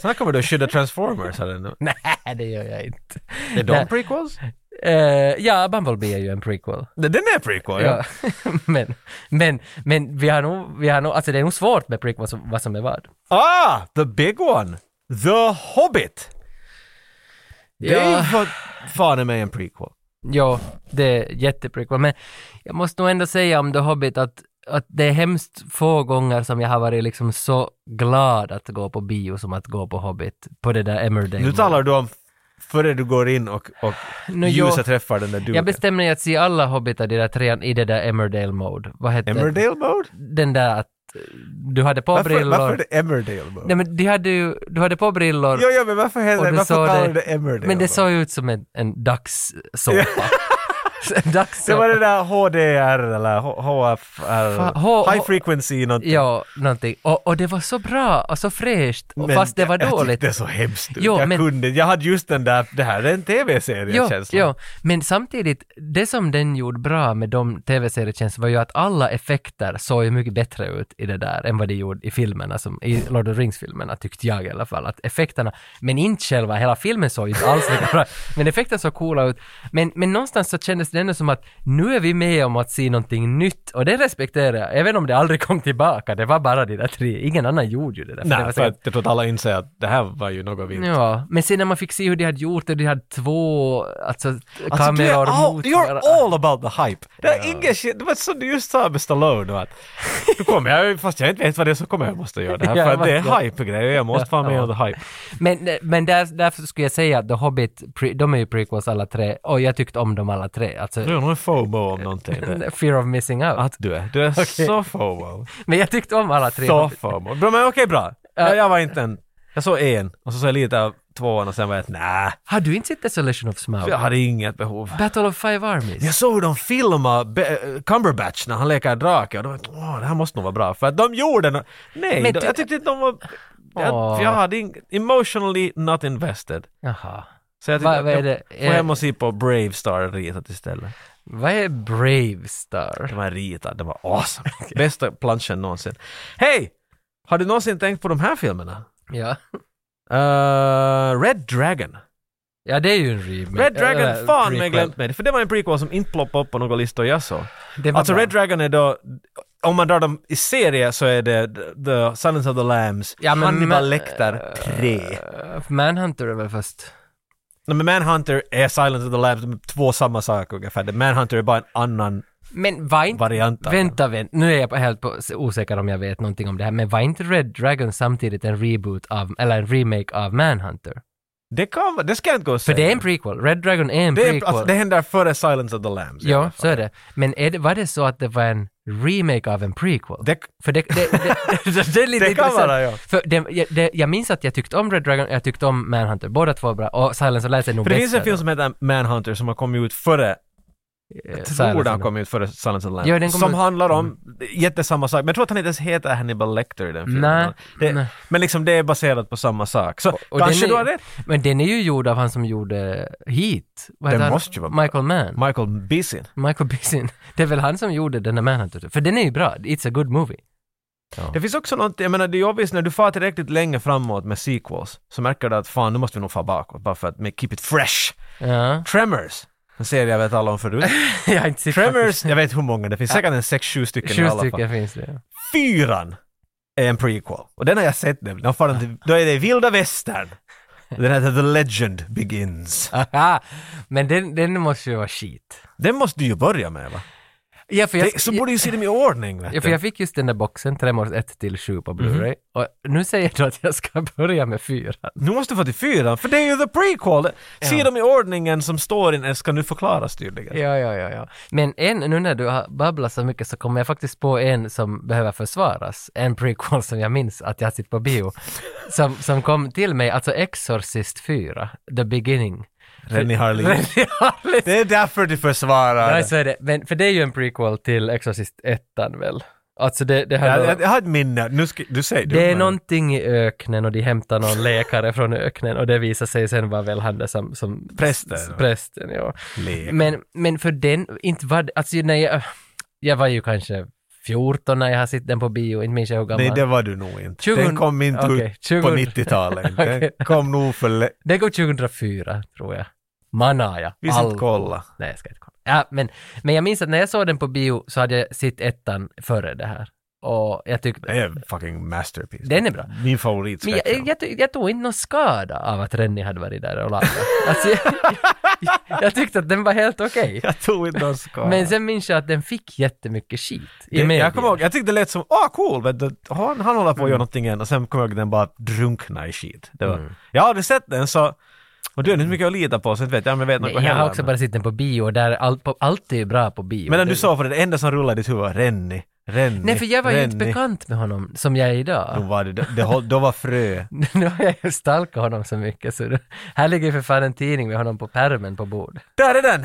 D: Sen kommer du att skydda Transformers. Eller? nu.
C: Nej, det gör jag inte.
D: Är
C: Nej.
D: de prequels?
C: Eh, ja, Bumblebee är ju en prequel.
D: Nej, Den är prequel, ja.
C: Ja. men, men, men vi har nog, vi har nog, alltså det är nog svårt med prick vad som, vad som är vad.
D: Ah, the big one! The Hobbit! Det är ju
C: Ja,
D: för fan i mig en prequel.
C: ja, det är jätteprequel. Men jag måste nog ändå säga om The Hobbit att, att det är hemskt få gånger som jag har varit liksom så glad att gå på bio som att gå på Hobbit, på det där Emmerdale.
D: Nu talar du om före du går in och, och
C: Nu,
D: ljuset
C: jag-
D: träffar den där duken.
C: Jag bestämde mig att se alla Hobbitar, de där trean, i det där Emmerdale-mode. Vad hette
D: Emmerdale mode?
C: Den där att eh, du hade på
D: Varför,
C: brillor.
D: varför är det Emmerdale mode?
C: Nej men de hade ju, du hade på brillor.
D: Jo, jo, men varför,
C: Och
D: heller,
C: du
D: varför
C: sa
D: kallar
C: det-
D: du det Emmerdale?
C: Men det
D: då?
C: såg ju ut som en, en dagssåpa. En
D: Det
C: dagssåpa.
D: var det där HDR eller H- HFR,
C: Fa- H-
D: High Frequency någonting.
C: Ja, någonting. Och, och det var så bra och så fräscht, och
D: Men
C: fast det var
D: jag- Jag
C: dåligt.
D: tyckte det såg hemskt ut.
C: Jo,
D: jag
C: men-
D: kunde Jag hade just den där, det här är en
C: Jo,
D: TV-serie-känslan.
C: jo, men samtidigt, det som den gjorde bra med de tv-serietjänster var ju att alla effekter såg ju mycket bättre ut i det där än vad de gjorde i filmerna, som, i Lord of the Rings-filmerna tyckte jag i alla fall, att effekterna, men inte själva, hela filmen såg ju inte alls lika bra, men effekterna såg coola ut. Men, men någonstans så kändes det ändå som att nu är vi med om att se någonting nytt och det respekterar jag, även om det aldrig kom tillbaka, det var bara de där tre, ingen annan gjorde ju det där. för det var
D: Nej, för
C: säkert-
D: att jag tror att alla inser att det här var ju något vi inte...
C: Ja, men sen när man fick se hur de hade gjort det, de hade två alltså,
D: Alltså, du är
C: kameror
D: all,
C: mot
D: you're
C: varandra.
D: all about the hype. Det är ingen shit, det var som du just sa med Stallone. och Att, du kommer jag, fast jag inte vet vad det är så kommer jag måste göra det här.
C: Ja,
D: för att det
C: ja.
D: är hype-grejer, jag måste vara med on the hype.
C: Men, men där, därför skulle jag säga att The Hobbit, pre, de är ju prequels alla tre, och jag tyckte om dem alla tre. Alltså,
D: Du är nog en FOMO om någonting. där.
C: Fear of missing out.
D: Mm. Att du är. Du är så FOMO.
C: Men jag tyckte om alla tre.
D: Så förmån. Bra, men okej bra. Jag, jag var inte en... Jag såg en och så såg jag lite av tvåan och sen var jag att nej,
C: Har du inte sett Desolation of Smaug?
D: jag hade inget behov.
C: Battle of Five Armies?
D: Jag såg hur de filmade Be- Cumberbatch när han leker drake och då var jag, åh, det här måste nog vara bra. För att de gjorde no- Nej,
C: Men
D: de,
C: ty-
D: jag tyckte inte de var...
C: Åh.
D: Jag, jag hade ing- emotionally not invested.
C: Jaha.
D: Så jag
C: Vad-
D: tyckte
C: vad är
D: jag,
C: det? Eh.
D: får hem och se på Brave Star ritat istället.
C: Vad är Brave Star?
D: De här ritade, de var awesome. Bästa planschen någonsin. Hej! Har du någonsin tänkt på de här filmerna?
C: Ja.
D: Eh, Red Dragon.
C: Ja, det är ju en remake.
D: Red Dragon,
C: Eller
D: fan mig
C: prequel.
D: glömt mig. För det var en prequel som inte ploppade upp på några listor jag såg.
C: Det var
D: Alltså
C: bra.
D: Red Dragon är då, om man drar dem i serie så är det The Silence of the Lambs,
C: Ja, men-
D: Hannibal
C: men-
D: Lecter 3.
C: Eh, Manhunter är väl fast...
D: Nej, men Manhunter är Silence of the Lambs, de är två samma saker ungefär. Det- Manhunter är bara en annan
C: Men var inte...
D: variant av den.
C: Vänta, vänta. Nu är jag helt på, osäker om jag vet någonting om det här. Men var inte Red Dragon samtidigt en reboot av, eller en remake av Manhunter?
D: Det, kan, vara- det ska jag inte gå och
C: För
D: säga.
C: det är en prequel. Red Dragon är en
D: det,
C: prequel.
D: är, alltså, det händer före Silence of the Lambs. i alla
C: ja,
D: fall.
C: så är det. Men är det, var det så att det var en remake av en prequel?
D: Det,
C: För det, det, det, det, är lite
D: Det kan
C: intressant.
D: vara, ja.
C: För det, jag, det, jag minns att jag tyckte om Red Dragon, jag tyckte om Manhunter. Båda två är bra. Och Silence of the Lambs är nog
D: för det
C: bäst.
D: finns en film som heter Manhunter som har kommit ut före
C: jag
D: tror den kom ut före Silence of the Lambs.
C: Ja, den kom
D: som
C: ut- Mm.
D: handlar om jättesamma sak. Men jag tror att han inte ens heter Hannibal Lecter i den filmen.
C: Nej,
D: det,
C: nej.
D: Men liksom det är baserat på samma sak. Så
C: Och
D: kanske
C: den
D: du
C: är-
D: har rätt.
C: Men den är ju gjord av han som gjorde Heat. Vad
D: Den
C: heter han?
D: måste ju vara bra.
C: Michael Mann.
D: Michael Bisin.
C: Michael Bisin. Det är väl han som gjorde den där Manhunter? För den är ju bra. It's a good movie.
D: Det finns också något, jag menar det är ju obvious när du far tillräckligt länge framåt med sequels så märker du att fan nu måste vi nog fara bakåt bara för att make, keep it fresh.
C: Ja.
D: Tremors! En serie jag vet alla om förut.
C: jag har inte sett
D: Tremors, jag vet hur många det finns, säkert en sex, sju stycken
C: Sju
D: i alla fall.
C: stycken finns det. ja.
D: Fyran är en prequel. Och den har jag sett nämligen. Då far de till- Då är det vilda västern. Den heter The Legend Begins.
C: Aha. Men den, den måste ju vara skit.
D: Den måste du ju börja med va?
C: Ja, för jag,
D: Det, så borde ju se dem i ordning vet
C: Ja, för jag
D: du.
C: fick just den Mhm. där boxen, Tremors 1 till 7 på Blu-ray. Och nu säger du att jag ska börja med 4.
D: Nu måste du få till fyran, för det är ju the prequel! Se
C: Ja.
D: dem i ordningen som storyn är, ska nu förklaras tydligen.
C: Ja, ja, ja, ja. Men en, nu när du har babblat så mycket så kommer jag faktiskt på en som behöver försvaras. En prequel som jag minns att jag har sett på bio. Som, som kom till mig, alltså Exorcist 4, The Beginning.
D: Rennie Harlin.
C: Ja, lite-
D: Det är därför du försvarar.
C: Nej, så är det. Men, för det är ju en prequel till Exorcist 1 väl? Alltså det, det, här
D: jag,
C: då-
D: jag, jag har ett minne, nu ska, du säger du.
C: Det är
D: men-
C: någonting i öknen och de hämtar någon läkare från öknen och det visar sig sen vara väl han där som, som
D: Prästen.
C: s- prästen ja.
D: Lek.
C: Men, men för den, inte var det- alltså när jag, jag var ju kanske 14 när jag har sett den på bio, inte minns jag hur gammal.
D: Nej, det
C: det...
D: var du nog inte.
C: 20
D: Den kom inte
C: okej,
D: ut
C: 20
D: på 90-talet.
C: Okej.
D: Den kom nog för lä-
C: det går 2004 tror jag. Manaja.
D: Vi ska
C: All-
D: inte kolla.
C: Nej, jag ska inte kolla. Ja, men, men jag minns att när jag såg den på bio så hade jag sett ettan före det här. Och jag tyckte...
D: Det är en fucking masterpiece.
C: Den är bra.
D: Min favorit
C: Men jag, jag, ty- jag tog inte någon skada av att Rennie hade varit där och lagat. Alltså, jag, jag, jag tyckte att den var helt okej.
D: jag tog inte någon skada.
C: Men sen minns jag att den fick jättemycket skit i
D: det,
C: media.
D: jag kommer ihåg, jag tyckte det lät som åh cool, vet du, han, han håller på att
C: Mm.
D: göra någonting än och sen kom jag ihåg den bara drunkna i skit. Det var, Jag har aldrig sett den så, och du är inte mycket att lita på så inte vet jag om jag vet något
C: Nej, jag har
D: heller,
C: också
D: men-
C: bara sett den på bio och där allt, på, allt är ju bra på bio.
D: Men när du
C: Det-
D: sa för det, det enda som rullade i ditt huvud var Rennie, Rennie,
C: Nej, för jag var ju inte
D: Rennie."
C: bekant med honom som jag är idag.
D: Då var det, det, det, håll- då var frö.
C: Nu har jag ju stalkat honom så mycket så det, här ligger ju för fan en tidning med honom på pärmen på bord.
D: Där är den!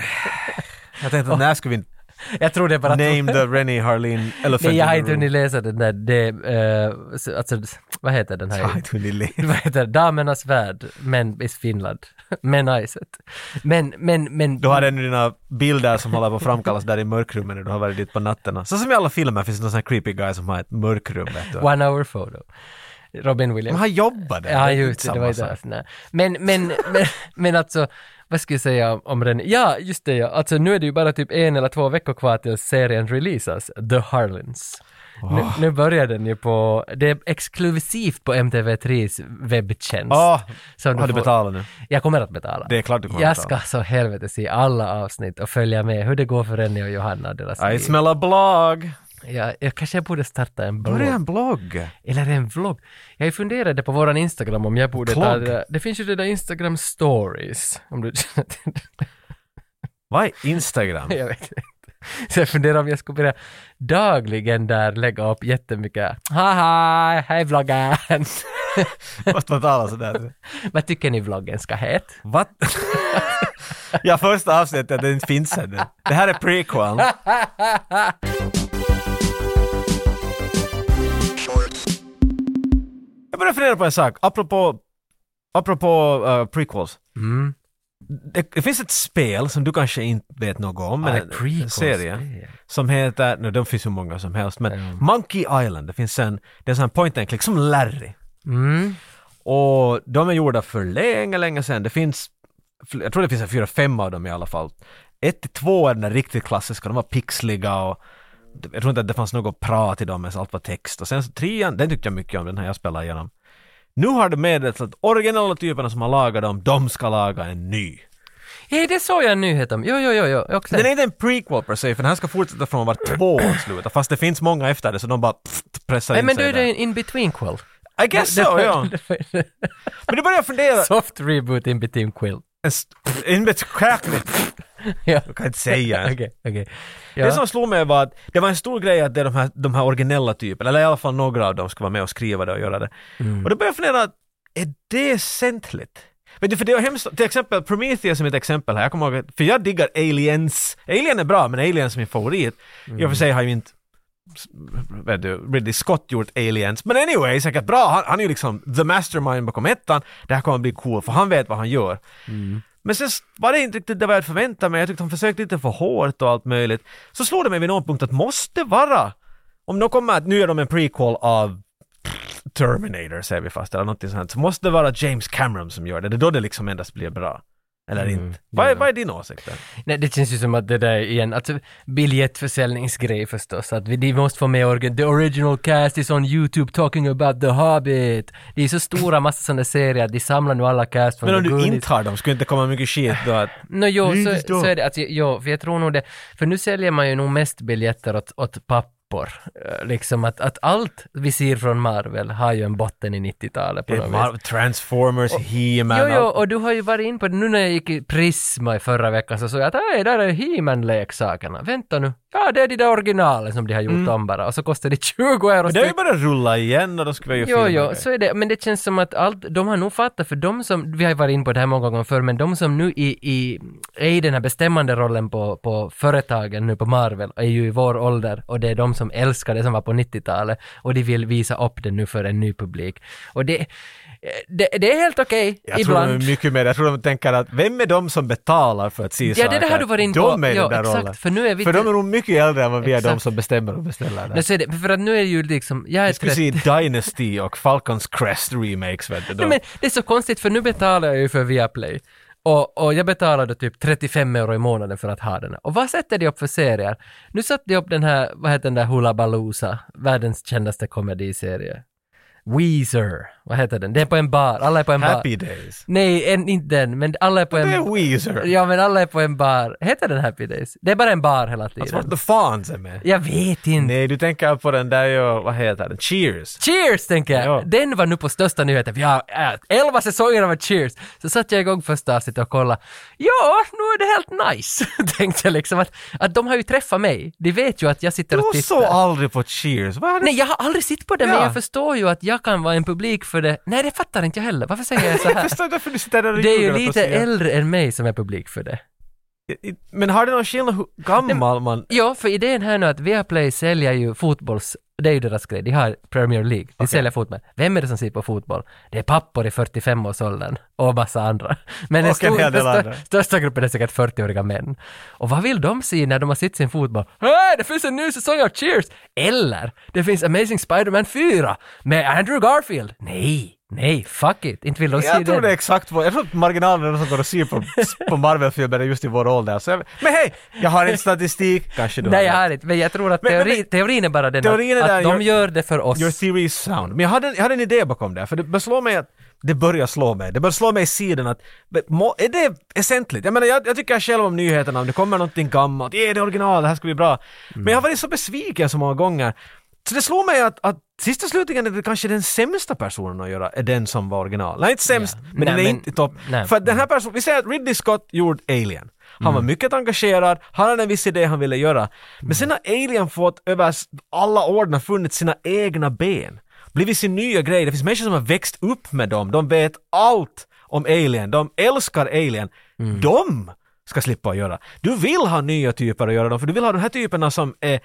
D: Jag tänkte att när ska vi inte
C: Jag tror det är bara
D: name the Rennie Harlin Elephant
C: Nej, jag har
D: in
C: inte
D: the
C: hunnit
D: room.
C: läsa den där, det, eh, så- alltså, vad heter den
D: Jag har
C: här?
D: inte hunnit le.
C: vad heter det? Damernas värld, men i Finland. Men Iset. Men, men, men...
D: Du har ännu dina bilder som håller på att framkallas där i mörkrummet när du har varit dit på nätterna. Så som i alla filmer finns det någon sån här creepy guy som har ett mörkrum vet du.
C: One hour photo. Robin
D: Men
C: Williams.
D: han jobbar där.
C: Ja,
D: är
C: just det,
D: inte
C: det var ju
D: samma
C: det.
D: sak.
C: Nej. Men, men, men, men alltså, vad ska jag säga om- om den? Ja, just det ja. Alltså nu är det ju bara typ en eller två veckor kvar tills serien releasas, The Harlins. Nu, nu börjar den ju på, det är exklusivt på MTV3s webbtjänst.
D: Ja,
C: Som
D: har du
C: får-
D: betalat nu?
C: Jag kommer att betala.
D: Det är klart du kommer
C: Jag
D: att
C: ska
D: betala.
C: så helvete se alla avsnitt och följa med hur det går för Rennie och Johanna och deras
D: I
C: liv.
D: smell a blog.
C: Jag, jag kanske borde starta en blogg.
D: Var är en blogg?
C: Eller en vlogg. Jag funderade på våran Instagram om jag borde ta
D: Vlogg?
C: det där. Det finns ju det där Instagram stories. Om du känner till det.
D: Vad är Instagram?
C: Jag vet inte. Så jag funderar om jag skulle börja dagligen där lägga upp jättemycket. Haha, hej vloggen!
D: Måste man tala sådär?
C: Vad tycker ni vloggen ska heta?
D: Vad? ja, första avsnittet, det inte finns ännu. Det här är prequel. Jag börjar fundera på en sak, apropå, apropå eh, prequels.
C: Mm.
D: Det, det finns ett spel som du kanske inte vet något om, men
C: Aj,
D: en- en
C: prequels.
D: serie. Som heter, nu de finns hur många som helst, men
C: Ja.
D: Monkey Island, det finns en, det är en sån här point and click, som Larry.
C: Mm.
D: Och de är gjorda för länge, länge sedan. Det finns fl- jag tror det finns en fyra, fem av dem i alla fall. Ett till två är den där riktigt klassiska, de var pixliga och jag tror inte att det fanns något prat i dem ens, allt var text. Och sen så trean, den tyckte jag mycket om, den här jag spelade igenom. Nu har det meddelats att originala typerna som har lagat dem, de ska laga en
C: Hm.
D: ny.
C: Hej, det såg jag en nyhet om. Jo, jo, jo, jo. Jag också.
D: Den är inte en prequel per se, för den här ska fortsätta från var två slutar, fast det finns många efter det, så de bara pff, pressar
C: Nej,
D: in
C: men då
D: sig
C: är det
D: där.
C: en in-between-quill.
D: I guess so, ja. Men då börjar jag fundera.
C: Soft reboot in-between-quill.
D: En st- In between
C: Ja.
D: Jag kan inte säga ens.
C: Okej, okej.
D: Det
C: Ja.
D: som slog mig var att det var en stor grej att det är de här, de här originella typerna, eller i alla fall några av dem ska vara med och skriva det och göra det. Och då började jag fundera, att, är det väsentligt? Vet du, för det var hemskt, till exempel Prometheus som ett exempel här, jag kommer ihåg, att- för jag diggar Aliens. Alien är bra, men Aliens är min favorit. I och för sig har ju inte vet du, Ridley Scott gjort Aliens. Men anyway, säkert bra. Han, han är ju liksom the mastermind bakom ettan. Det här kommer bli cool, för han vet vad han gör. Men sen s- var det inte riktigt det vad jag förväntade mig. Jag tyckte han försökte lite för hårt och allt möjligt. Så slår det mig vid någon punkt att måste vara. Om de kommer att, nu är de en prequel av Terminator säger vi fast, eller någonting sånt. Så måste det vara James Cameron som gör det. Det är då det liksom endast blir bra. Eller
C: Mm,
D: inte. Vad är,
C: ja.
D: vad är din åsikt där?
C: Nej, det känns ju som att det där är igen, alltså biljettförsäljningsgrej förstås, att vi, de måste få med organ, the original cast is on YouTube talking about the Hobbit. Det är så stora massa sådana serier, att de samlar nu alla cast från
D: Men om
C: The
D: du
C: Goonies.
D: inte har dem, skulle inte komma mycket shit då att...
C: Nå jo,
B: Nej,
C: så,
B: förstå.
C: så är det. Alltså, jo, för jag tror nog det. För nu säljer man ju nog mest biljetter åt, åt pappor. Eh, Liksom att, att allt vi ser från Marvel har ju en botten i 90-talet på något vis.
D: Transformers, He-Man,
C: Jo, jo,
D: allt-
C: och du har ju varit in på det. Nu när jag gick i Prisma i förra veckan så såg jag att "Aj, där är He-Man-leksakerna. Vänta nu. Ja, det är de där originalen som de har gjort om bara. Och så kostar det 20 euro
D: Mm. Men det har ju
C: styck.
D: börjat rulla igen och då skulle vi ju
C: Jo,
D: filma
C: jo,
D: det.
C: så är det. Men det känns som att allt, de har nog fattat, för de som, vi har ju varit in på det här många gånger förr, men de som nu i, i, är i den här bestämmande rollen på, på företagen nu på Marvel är ju i vår ålder och det är de som älskar det som var på 90-talet och de vill visa upp det nu för en ny publik. Och det, eh, det, det är helt okej
D: Jag tror
C: ibland.
D: de är mycket mer, jag tror de tänker att vem är de som betalar för att se
C: Ja,
D: saker?
C: det där har du varit in på.
D: De är i
C: ja,
D: den där
C: exakt,
D: rollen.
C: för nu är vi...
D: För de är nog mycket äldre än vad vi är de
C: Exakt.
D: som bestämmer och beställer
C: Men
D: det.
C: så är det, för att nu är det ju liksom, jag är
D: Jag skulle
C: 30.
D: se Dynasty och Falcons Crest remakes vet du.
C: Nej,
D: De,
C: men det är så konstigt för nu betalar jag ju för Viaplay. Och, och jag betalade typ 35 euro i månaden för att ha den. här. Och vad sätter de upp för serier? Nu satte de upp den här, vad heter den där Hula Balooza, världens kändaste komediserie. Weezer, vad heter den? Det är på en bar, alla är på en bar.
D: Happy Days.
C: Nej, en, inte den, men alla är på
D: Det
C: en...
D: är Weezer.
C: Ja, men alla är på en bar. Heter den Happy Days? Det är bara en bar hela
D: Alltså
C: tiden.
D: What the Fawns är med.
C: Jag vet inte.
D: Nej, du tänker på den där ju, vad heter den? Cheers.
C: Cheers tänker jag!
D: Ja.
C: Den var nu på största nyheten. Vi har äh, elva säsonger av Cheers. Så satte jag igång första avsnittet och kollade. Ja, nu är det helt nice, tänkte jag liksom. Att, att de har ju träffat mig. De vet ju att jag sitter och
D: Du
C: tittar.
D: såg aldrig på Cheers. Vad är det?
C: Nej, jag har aldrig sett på det, men
D: Ja.
C: jag förstår ju att jag kan vara en publik för det. Nej, det fattar inte jag heller. Varför säger jag så
D: Jag
C: här?
D: förstår inte varför du sitter där och
C: Det är ju
D: googlar på
C: lite
D: att se.
C: äldre än mig som är publik för det.
D: Men har det någon skillnad hur gammal man...
C: Ja, för idén här nu att Viaplay säljer ju fotbolls... Det är ju deras grej, de har Premier League, de säljer fotboll. Vem är det som ser på fotboll? Det är pappor i 45-årsåldern och massa andra. Men den
D: Och en hel del
C: stö-
D: andra.
C: största gruppen är säkert 40-åriga män. Och vad vill de se när de har sett sin fotboll? Hej, det finns en ny säsong av Cheers! Eller, det finns Amazing Spider-Man 4 med Andrew Garfield! Nej, nej, fuck it, inte vill de se
D: Jag tror
C: den.
D: det är exakt vad, jag tror att marginalen är de som går och ser på, på Marvel-filmer är just i vår ålder. Så jag, men hej! Jag har en statistik. Kanske du
C: Nej, jag
D: har
C: har inte, men jag tror att
D: Men- men-
C: teori, teorin är bara den
D: Teorin är
C: att,
D: där,
C: att de
D: your-
C: gör det för oss.
D: Your theory is sound. Men jag hade, en, jag hade en idé bakom det, här, för det börjar slå mig att det börjar slå mig. Det börjar slå mig i sidan att men må, är det väsentligt? Jag menar, jag, jag tycker själv om nyheterna, om det kommer någonting gammalt, yeah, det är original, det här ska bli bra. Men jag har varit så besviken så många gånger. Så det slår mig att, att sist och slutligen är det kanske den sämsta personen att göra, är den som var original. Nej, inte sämst,
C: Ja.
D: men
C: Nej,
D: den är
C: men-
D: inte i topp.
C: nej.
D: För att den här personen, vi säger att Ridley Scott gjorde Alien. Han
C: Mm.
D: var mycket engagerad, han hade en viss idé han ville göra. Men sen har Alien fått över s- alla åren funnit sina egna ben. Blivit sin nya grej. Det finns människor som har växt upp med dem. De vet allt om Alien. De älskar Alien.
C: Mm.
D: De ska slippa att göra. Du vill ha nya typer att göra dem, för du vill ha de här typerna som är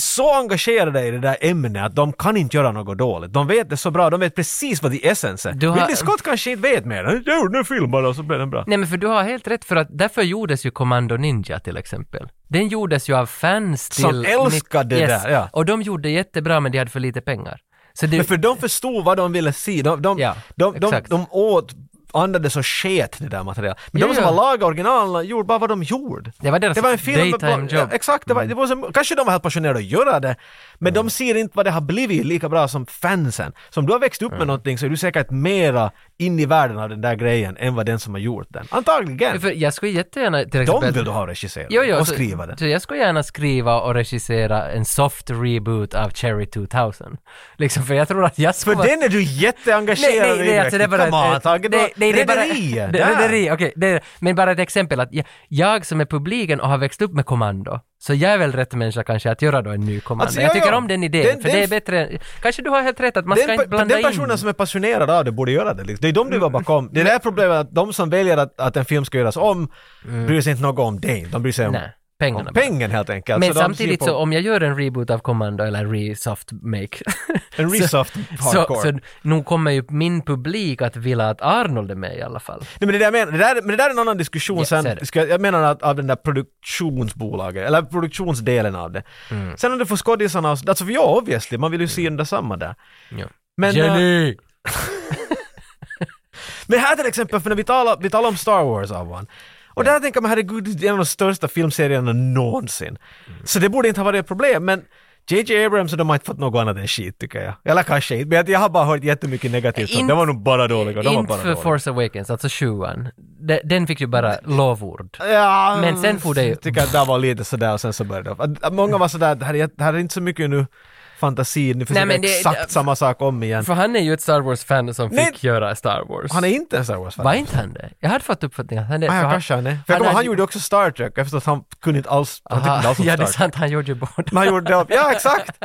D: så engagerade i det där ämnet att de kan inte göra något dåligt. De vet det så bra, de vet precis vad the essence är.
C: Du har-
D: Ridley Scott kanske inte vet mer. Han gjorde nu filmer och så blev den bra.
C: Nej men för du har helt rätt för att därför gjordes ju Commando Ninja till exempel. Den gjordes ju av fans till...
D: Som älskade
C: Yes.
D: det, ja.
C: Och de gjorde jättebra men de hade för lite pengar. Så det,
D: Men för de förstod vad de ville se. De, de,
C: Ja,
D: de, de, de,
C: exakt.
D: åt andades och sket det där materialet. Men
C: Ja,
D: de som
C: ja.
D: har lagat originalen gjorde bara vad de gjorde.
C: Det var deras
D: Det var en film med
C: daytime
D: bla-
C: job. Mm.
D: Ja, exakt, det var, det var som, kanske de var helt passionerade att göra det, men de ser inte vad det har blivit lika bra som fansen. Så om du har växt upp
C: Mm.
D: med någonting så är du säkert mera in i världen av den där grejen än vad den som har gjort den. Antagligen!
C: För jag skulle jättegärna till
D: De
C: exempel...
D: vill du ha regisserat
C: Jo, jo,
D: och
C: så-
D: skriva den.
C: Så jag skulle gärna skriva och regissera en soft reboot av Cherry 2000. Liksom, för jag tror att jag
D: För
C: skulle...
D: den är du
C: Nej,
D: jätteengagerad
C: nej, nej, alltså det är bara...
D: Come on,
C: ett-
D: Tage,
C: nej, nej, det är bara-
D: Rederiet,
C: det-
D: där.
C: Rederi, okej. det är- Men bara ett exempel att jag, jag som är publiken och har växt upp med Kommando, så jag är väl rätt människa kanske att göra då en ny Kommando.
D: Alltså,
C: jag
D: ja,
C: tycker
D: ja.
C: om den idén,
D: Den-
C: för
D: den-
C: det är bättre... Kanske du har helt rätt att man ska
D: Den,
C: inte
D: pe-
C: blanda
D: den personen
C: in... Mm.
D: som är passionerad av det borde göra det. liksom. Det är de du var bakom. Det är det här problemet att de som väljer att, att en film ska göras om bryr sig inte något om dig. De bryr sig om,
C: Mm. Nej, pengarna.
D: om pengen helt enkelt.
C: Men
D: de ser
C: samtidigt
D: på
C: så om jag gör en reboot av Commando eller re-soft make
D: En resoft
C: så,
D: hardcore.
C: så nog kommer ju min publik att vilja att Arnold är med i alla fall.
D: Nej, men, det där men, det där, men det där är en annan diskussion
C: Ja, så är det.
D: sen. Ska, jag- jag menar att av den där produktionsbolaget, eller produktionsdelen av det.
C: Mm.
D: Sen om du får skådisarna, och så- alltså för ja obviously, man vill ju se den där samma där.
C: Ja.
D: Men, eh,
C: Jenny!
D: Men här till exempel, för när vi talar, vi talar om Star Wars Avan. Och där tänker man herregud, det är en av de största filmserierna någonsin.
C: Mm.
D: Så det borde inte ha varit ett problem, men JJ Abrams och de har inte fått något annat än skit tycker jag. Eller kanske inte, men jag- jag har bara hört jättemycket negativt om
C: Inte-
D: det. var nog bara dåliga. De var
C: Inte
D: bara
C: för
D: dåliga.
C: Force Awakens, alltså sjuan. De- Den fick ju bara lovord.
D: Ja,
C: Men sen får det ju-
D: Jag tycker att det var lite sådär och sen så började det. Att- att Många var sådär, det här är, det här är inte så mycket nu fantasi, nu försöker
C: men det-
D: exakt samma sak om igen.
C: För han är ju ett Star Wars-fan som fick
D: Nej.
C: göra Star Wars.
D: Han är inte en Star Wars-fan.
C: Var inte han det? Jag hade fått uppfattningen att han är...
D: Ah,
C: för
D: ja,
C: han-
D: kanske han är. För jag
C: han
D: kommer ihåg, han
C: hade-
D: gjorde också Star Trek, eftersom att han kunde inte alls, han tyckte inte
C: Aha,
D: alls om
C: ja, det
D: Star
C: är
D: Trek.
C: sant, han gjorde ju båda.
D: Men han gjorde det upp. Ja, exakt!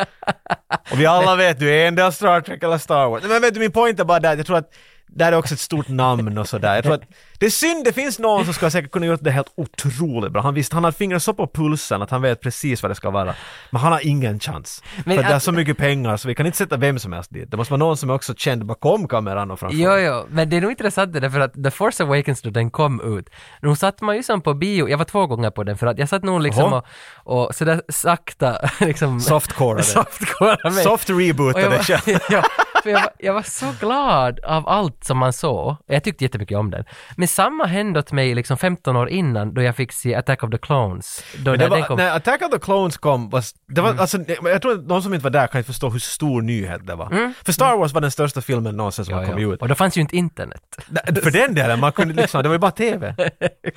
D: Och vi alla vet, du är en del Star Trek eller Star Wars. Men vet du, min point är bara där, jag tror att där är också ett stort namn och sådär. Jag tror att det är synd, det finns någon som skulle säkert kunna gjort det helt otroligt bra. Han visste, han har fingrar så på pulsen att han vet precis vad det ska vara. Men han har ingen chans.
C: Men
D: för att det är
C: att-
D: så mycket pengar så vi kan inte sätta vem som helst dit. Det måste vara någon som är också känd bakom kameran och framför.
C: Jo, jo, men det är nog intressant det där för att The Force Awakens då den kom ut, nu satt man ju som på bio, jag var två gånger på den för att jag satt nog liksom
D: Jaha.
C: och, och sådär sakta liksom
D: Softcore.
C: softcore mig.
D: Soft
C: Och jag
D: rebootade själv.
C: var, ja, för jag, var, jag var så glad av allt som man såg. Jag tyckte jättemycket om den. Men samma hände åt mig liksom 15 år innan då jag fick se Attack of the Clones.
D: Men
C: Då när
D: det
C: den
D: var,
C: kom. Mm.
D: när Attack of the Clones kom, var, det var, alltså, jag tror att de som inte var där kan inte förstå hur stor nyhet det var. För Star Wars var den största filmen någonsin som
C: Mm. Ja,
D: har
C: ja.
D: kommit ut.
C: Och då fanns ju inte internet.
D: Nej, För den delen, man kunde liksom, det var ju bara TV. Men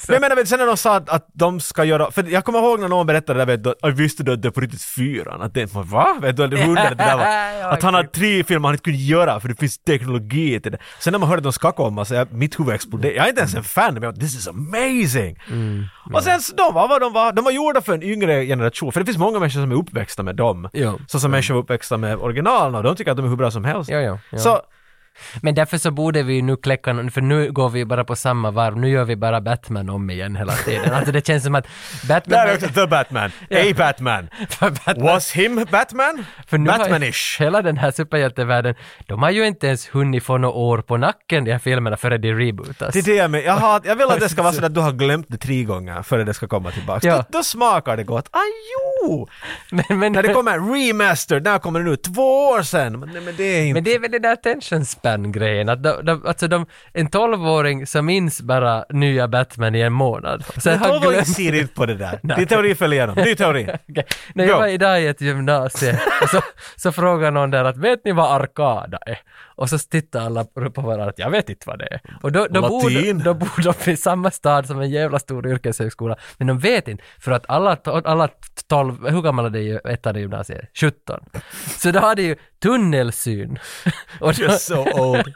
D: jag menar, vet du, sen när de sa att, att de ska göra, för jag kommer ihåg när någon berättade det där, vet du, jag visste du att det på riktigt fyran? Att det, man, va? Vet du, hur underligt det där
C: Ja,
D: var? Att han har
C: exakt.
D: tre filmer han inte kunde göra för det finns teknologi till det. Sen när man hörde att de ska komma så jag, mitt huvud exploderade. Jag är inte ens en fan, men jag bara, this is amazing!
C: Mm,
D: Och sen så de var vad de var, de var gjorda för en yngre generation, för det finns många människor som är uppväxta med dem.
C: Ja.
D: Så som människor var uppväxta med originalen och de tycker att de är hur bra som helst.
C: Ja, ja, ja.
D: Så
C: Men därför så borde vi ju nu kläcka någon, för nu går vi ju bara på samma varv. Nu gör vi bara Batman om igen hela tiden. Alltså det känns som att Batman...
D: där är också The Batman, A Batman.
C: för Batman
D: Was him Batman?
C: för nu
D: Batmanish.
C: Har, hela den här superhjältevärlden, de har ju inte ens hunnit få några år på nacken de här filmerna före de rebootas.
D: Det är det jag menar. Jag, har, jag vill att det ska vara så att du har glömt det tre gånger före det ska komma tillbaka.
C: Ja.
D: Då, då smakar det gott. Ah, jo!
C: Men, men,
D: När det kommer en remaster, när kommer det nu? Två år sen! Men, nej, men det är inte...
C: men det är väl den där attention span-grejen, att de, de, alltså de, en tolvåring som minns bara nya Batman i en månad. Sen
D: Men
C: har
D: Tolvoy
C: glömt-
D: ser inte på det där. Din teori föll igenom. Ny teori.
C: Okej. När jag
D: Go.
C: var idag i ett gymnasium och så, så frågade någon där att vet ni vad arkada är? Och så tittade alla på varandra att jag vet inte vad det är. Och då, då, bor, de-
D: Latin.
C: då bor de i samma stad som en jävla stor yrkeshögskola. Men de vet inte för att alla, to- alla tolv, hur gammal är det i ettan i gymnasiet? 17. Så då har de ju tunnelsyn. Och då,
D: You're so old.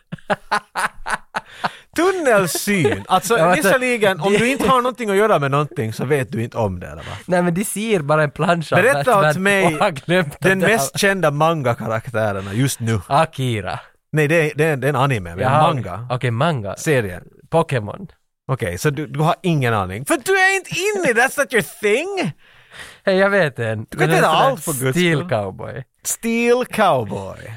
D: Tunnelsyn! Alltså
C: Ja, men-
D: visserligen, om du inte har någonting att göra med någonting så vet du inte om det eller va?
C: nej men de ser bara en plansch av
D: Berätta åt
C: Batman
D: mig
C: och har glömt
D: den
C: att det
D: mest kända manga-karaktärerna just nu.
C: var Akira.
D: Nej, det är, det är, det är en anime, men
C: Jaha,
D: manga.
C: Okej, manga.
D: Serien.
C: Pokémon.
D: Okej, så du, du har ingen aning? För du är inte inne, that's not your thing!
C: Hej, jag vet en.
D: kan inte
C: Den är
D: göra
C: sån här
D: allt på Guds skull.
C: Steel Cowboy.
D: Steel Cowboy.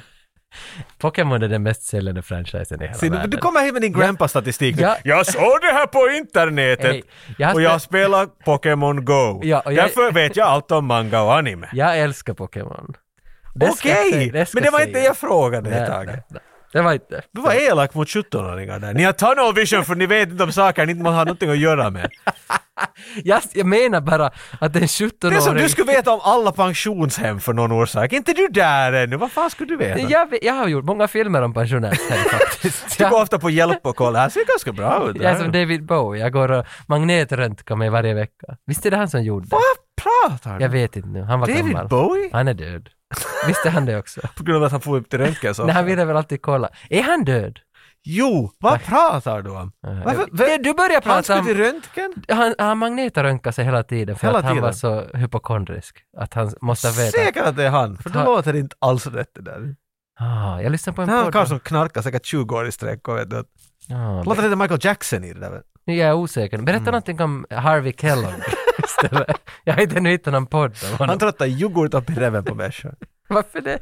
C: Pokémon är den mest säljande franchisen i hela
D: Se, du,
C: världen.
D: du kommer här med din grandpa-statistik nu.
C: Ja.
D: Jag såg det här på internetet
C: Hej, jag har
D: och
C: spe-
D: jag spelar Pokémon Go.
C: Ja, och jag-
D: Därför vet jag allt om manga och anime.
C: Jag älskar Pokémon. Det ska
D: Okej!
C: jag säga- ska
D: Men det var
C: jag
D: inte det
C: säga.
D: jag frågade,
C: Nej,
D: Tage.
C: nej, nej. Det var inte...
D: Du var elak mot 17-åringar där. Ni har tunnel vision för ni vet inte om saker ni inte har någonting att göra med.
C: Jag, jag menar bara att en 17-åring...
D: Det är som du skulle veta om alla pensionshem för någon orsak. Inte du där ännu, vad fan skulle du veta?
C: jag, vet- jag har gjort många filmer om pensionärshem faktiskt.
D: Du går
C: Jag,
D: ofta på hjälp och kollar, det här ser ganska bra ut.
C: jag är som David Bowie, jag går och magnetröntgar mig varje vecka. Visst är det han som gjorde det?
D: Vad pratar
C: Jag
D: du?
C: vet inte nu, han var
D: David
C: gammal.
D: Bowie?
C: Han är död. Visst är han det också?
D: På grund av att han får upp till röntgen så.
C: Nej, han ville väl alltid kolla. Är han död?
D: Jo, vad pratar du om? Varför-
C: Du- Du börjar
D: Han
C: prata
D: skulle till
C: om...
D: röntgen?
C: Han, han magnetröntgade sig hela tiden för
D: Hela
C: att han
D: tiden?
C: var så hypokondrisk. Att han måste veta.
D: Säkert att det är han, för det
C: Ta-
D: låter inte alls rätt det där.
C: Ah, jag lyssnade på en
D: Det här är en karl
C: podd.
D: som knarkar säkert 20 år i sträck och vet du.
C: Ah,
D: Låter lite Michael Jackson i det där.
C: Nu är jag osäker. Berätta
D: Mm.
C: någonting om Harvey Kellogg istället. Jag har inte ännu hittat någon podd om honom.
D: Han tröttar yoghurt upp i reven på människor.
C: Varför det?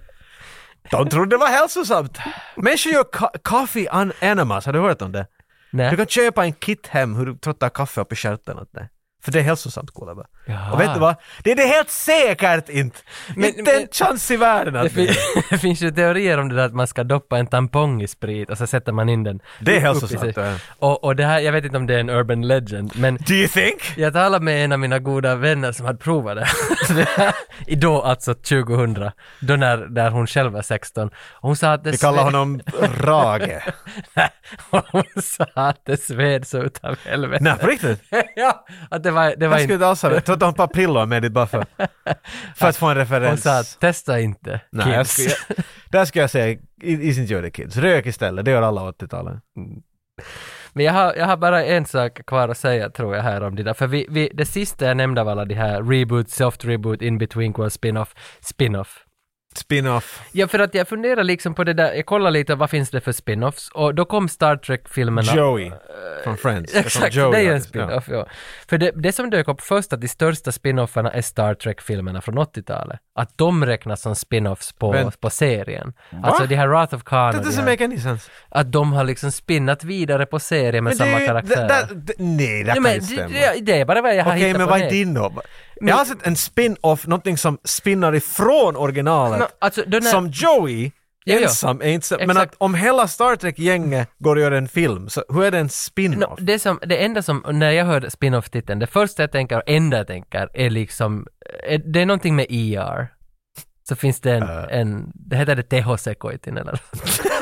D: De trodde det var hälsosamt. Människor gör ka- coffee on animals, har du hört om det? Du
C: Nej.
D: kan köpa en kit hem hur du tröttar kaffe upp i stjärten åt dig. För det är hälsosamt, Kulaba.
C: Jaha.
D: Och vet du vad? Det är det helt säkert inte!
C: Ah. Men-
D: inte en
C: men-
D: chans i världen
C: Det,
D: att det
C: fin-
D: är.
C: det finns ju teorier om det där att man ska doppa en tampong i sprit och så sätter man in den.
D: Det är
C: upp i
D: hälsosamt.
C: sig.
D: ja.
C: Och, och det här, jag vet inte om det är en urban legend, men
D: Do you think?
C: jag talade med en av mina goda vänner som hade provat det. det här, I då alltså 2000, då när, där hon själv var 16. Och hon sa att det
D: Vi kallar
C: sved-
D: honom Rage.
C: och hon sa att det sved så utav helvete.
D: Nej, på riktigt?
C: ja, att det var, det var
D: Jag skulle
C: inte...
D: inte alls ha det. Tror att de har ett par piller med dit bara för, för att få en
C: Hon
D: referens.
C: sa att testa inte,
D: Nej, jag
C: kids.
D: skulle, jag, där skulle jag säga, i- isn't gör det kids. Rök istället, det gör alla 80-talet.
C: Men jag har, jag har bara en sak kvar att säga tror jag här om det där, för vi, vi, det sista jag nämnde av alla de här reboot, soft reboot, in between, qual spin-off, spin-off.
D: Spin-off.
C: Ja, för att jag funderar liksom på det där, jag kollar lite vad finns det för spin-offs och då kom Star Trek-filmerna.
D: Joey. Från Friends. Det är som
C: äh, Exakt,
D: Joey,
C: det är ju en
D: alltså. Ja.
C: spin-off, ja. För det, det som dök upp först, att de största spin-offarna är Star Trek-filmerna från 80-talet. Att de räknas som spin-offs på,
D: Vänt-
C: på serien. Alltså de här Wrath of Khan
D: That
C: och de
D: doesn't
C: här-
D: make any sense.
C: att de har liksom spinnat vidare på serien med samma
D: det-
C: karaktärer.
D: det- det- det- Nej, det
C: Ja,
D: kan
C: men
D: inte
C: det,
D: stämma.
C: det, det är bara vad jag har
D: Okej,
C: hittat
D: men
C: på
D: vad är
C: nätet.
D: din då? Jag har sett en spin-off, någonting som spinnar ifrån originalet.
C: Men, alltså, den här,
D: Som Joey,
C: Ja, ja.
D: ensam, är inte så, men
C: Exakt.
D: att om hela Star Trek-gänget går och gör en film, så hur är det en
C: no,
D: spin-off?
C: det, som, det enda som, när jag hörde spin-off-titeln, det första jag tänker, och enda jag tänker, är liksom, eh, det är någonting med ER. Så finns det en,
D: Äh.
C: en det heter det Tehosekoitin eller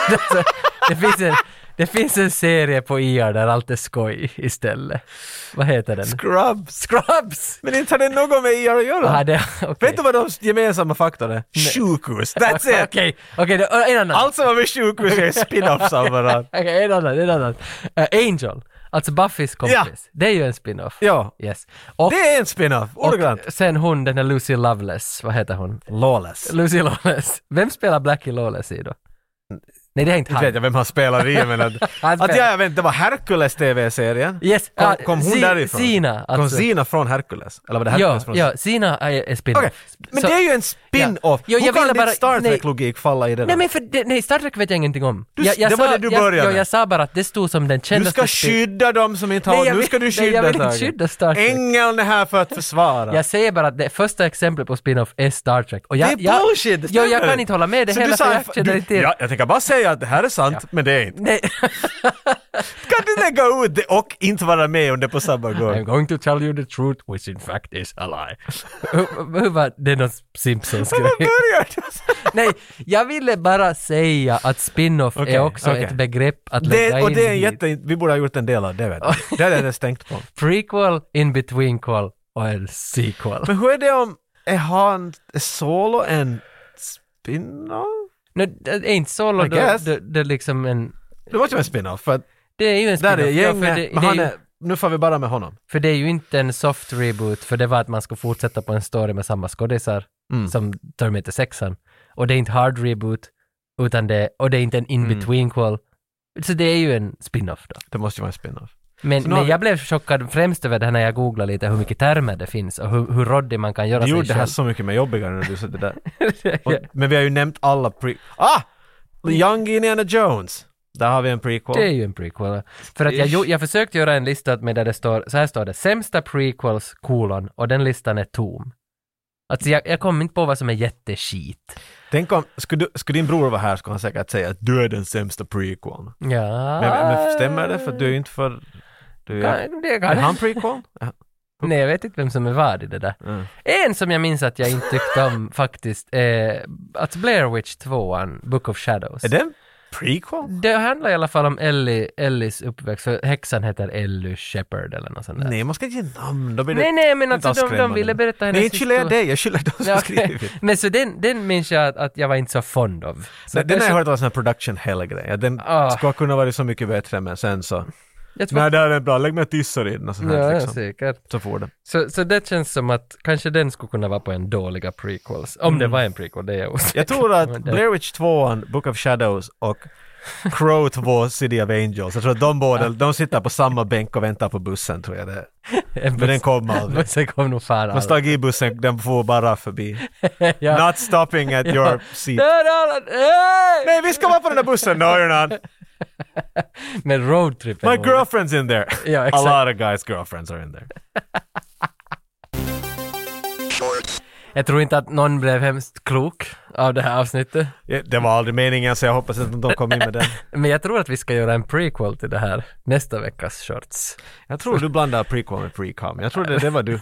C: alltså, det, finns en, det finns en serie på ER där allt är skoj istället. Vad heter den?
D: Scrubs!
C: Scrubs!
D: Men inte har det något med IR att göra.
C: Ah, det, okay.
D: Vet du vad de gemensamma faktorn är? Sjukhus, that's it!
C: Okej, okej, då- en annan.
D: Allt som har med sjukhus är spin-offs av varandra.
C: Okej, en annan, en annan. Eh, Angel, alltså Buffys kompis.
D: Ja.
C: Det är ju en spin-off.
D: Ja,
C: Yes. Och,
D: det är en spin-off, ordagrant.
C: och sen hon, den där Lucy Loveless, vad heter hon?
D: Lawless.
C: Lucy Lawless. Vem spelar Blackie Lawless i då? Nej, det är inte
D: Inte vet
C: han.
D: jag vem han spelar i men att,
C: Han
D: att
C: spelar-
D: jag, jag vet inte, det var Hercules TV-serien?
C: Yes,
D: Kom,
C: ah,
D: kom hon
C: Si-
D: därifrån?
C: Sina,
D: Kom
C: alltså.
D: Sina från Hercules? Eller var det Hercules
C: Ja,
D: från
C: ja, Sina är, är spin-off.
D: Okej, men
C: Så-
D: det är ju en spin-off!
C: Ja. Jo,
D: Hur
C: jag
D: kan
C: ville
D: ditt
C: bara-
D: Star
C: nej.
D: Trek-logik falla i det
C: Nej
D: där?
C: men för, det- nej, Star Trek vet jag ingenting om.
D: Du-
C: jag, jag
D: det var det du började
C: Jag,
D: med.
C: jag sa bara att det stod som den
D: Du
C: kändaste
D: ska
C: spin-
D: skydda dem som inte
C: Nej,
D: har...
C: jag
D: Nu
C: vill-
D: ska du
C: nej,
D: skydda
C: jag vill inte
D: Tage.
C: skydda Star Trek.
D: Ängeln är här för att försvara.
C: Jag säger bara att det första exemplet på spin-off är Star Trek. Och jag,
D: det är bullshit!
C: Jag,
D: stämmer
C: jo, jag kan inte hålla med det
D: Så
C: heller,
D: du sa-
C: för jag känner
D: du-
C: inte till.
D: Ja, jag tänker bara säga att det här är sant, men det är inte.
C: Nej.
D: Kan du lägga ut det och inte vara med om det på samma
C: I'm
D: gång?
C: going to tell you the truth, which in fact is a lie. Hur hur var det någon Simpsons
D: Men
C: grej?
D: börjar du så?
C: Nej, jag ville bara säga att spin-off
D: Okej,
C: är också
D: okej.
C: ett begrepp att lägga
D: Det, och
C: in
D: det är en
C: hit.
D: jätte... Vi borde ha gjort en del av det, vet du. Det hade jag redan stängt på.
C: Prequel, in betweenquel och en sequel.
D: Men hur är det om... Är han... Är Solo en spin-off?
C: Nu, det är inte solo,
D: I
C: då,
D: guess.
C: då, det är liksom en...
D: Det måste vara en spin-off, för att
C: Det är ju en
D: där är
C: spin-off. ja,
D: gänget,
C: för, det,
D: men
C: det är
D: han
C: ju,
D: är... Nu får vi bara med honom.
C: för det är ju inte en soft reboot, för det var att man ska fortsätta på en story med samma skådisar
D: Mm.
C: som Terminator 6 Och det är inte hard reboot, utan det, och det är inte en in
D: Mm.
C: between qual Så det är ju en spin-off då.
D: Det måste ju vara en spin-off.
C: Men,
D: Så nu har
C: men
D: vi-
C: jag blev chockad främst över det här när jag googlade lite hur mycket termer det finns och hur, hur råddig man kan göra
D: Du gjorde
C: sig
D: det här
C: själv.
D: så mycket mer jobbigare när du sa det där. Och,
C: Ja.
D: Men vi har ju nämnt alla pre... Ah! Young Indiana Jones! Där har vi en prequel.
C: Det är ju en prequel. För att jag,
D: Ish.
C: gjo- jag försökte göra en lista med där det står, så här står det, sämsta prequels, kolon, och den listan är tom. Alltså jag, jag kom inte på vad som är jätteskit.
D: Tänk om, skulle, du, skulle din bror vara här skulle han säkert säga att du är den sämsta prequeln.
C: Ja.
D: Men, men stämmer det? För du är ju inte för... Du är,
C: Kan, det
D: är
C: kan
D: han prequel? Ja.
C: Nej, jag vet inte vem som är vad i det där.
D: Mm.
C: En som jag minns att jag inte tyckte om faktiskt är att Blair Witch 2, Book of Shadows.
D: Är det en prequel?
C: Det handlar i alla fall om Ellie, Ellies uppväxt, för häxan heter Ellie Shepard eller något sånt där.
D: Nej, man ska inte ge namn. Då blir det
C: nej, nej, men
D: inte
C: alltså de, de
D: avskrämmande.
C: ville berätta hennes
D: Nej, inte skyller jag
C: historia.
D: dig. Jag skyller de som
C: Ja, okej.
D: skrivit.
C: Men så den, den minns jag att, att jag var inte så fond av. Så
D: Nej, den har
C: kanske-
D: jag hört var en sån här production hell-grej. Ja, Den
C: Ah.
D: ska kunna vara så mycket bättre, men sen så...
C: jag tror
D: Nej, det här är bra. Lägg mig och tissar i den och sånt
C: Ja,
D: här,
C: ja,
D: liksom.
C: säkert.
D: Så får det.
C: Så, så det känns som att kanske den skulle kunna vara på en dåliga prequels. Om
D: Mm.
C: det var en prequel, det är jag osäker
D: Jag tror
C: på, men
D: att
C: det-
D: Blair Witch 2, Book of Shadows och Crow 2, City of Angels. Jag tror att de båda, de sitter på samma bänk och väntar på bussen, tror jag det Men den kommer aldrig.
C: Bussen kom nog fan
D: Man
C: aldrig.
D: steg i bussen, den får bara förbi.
C: Ja.
D: Not stopping at your seat.
C: Där är alla! Hey!
D: Nej, vi ska vara på den där bussen! No, you're not!
C: Men roadtrippen.
D: My
C: var-
D: girlfriend's in there!
C: Ja,
D: A
C: exakt.
D: lot of guys' girlfriends are in there.
C: Jag tror inte att någon blev hemskt klok av det här avsnittet.
D: Ja, Det var aldrig meningen, så jag hoppas inte att de kom in med den.
C: Men jag tror att vi ska göra en prequel till det här nästa veckas shorts.
D: Jag tror du blandar prequel med precom. Jag tror det, det var du.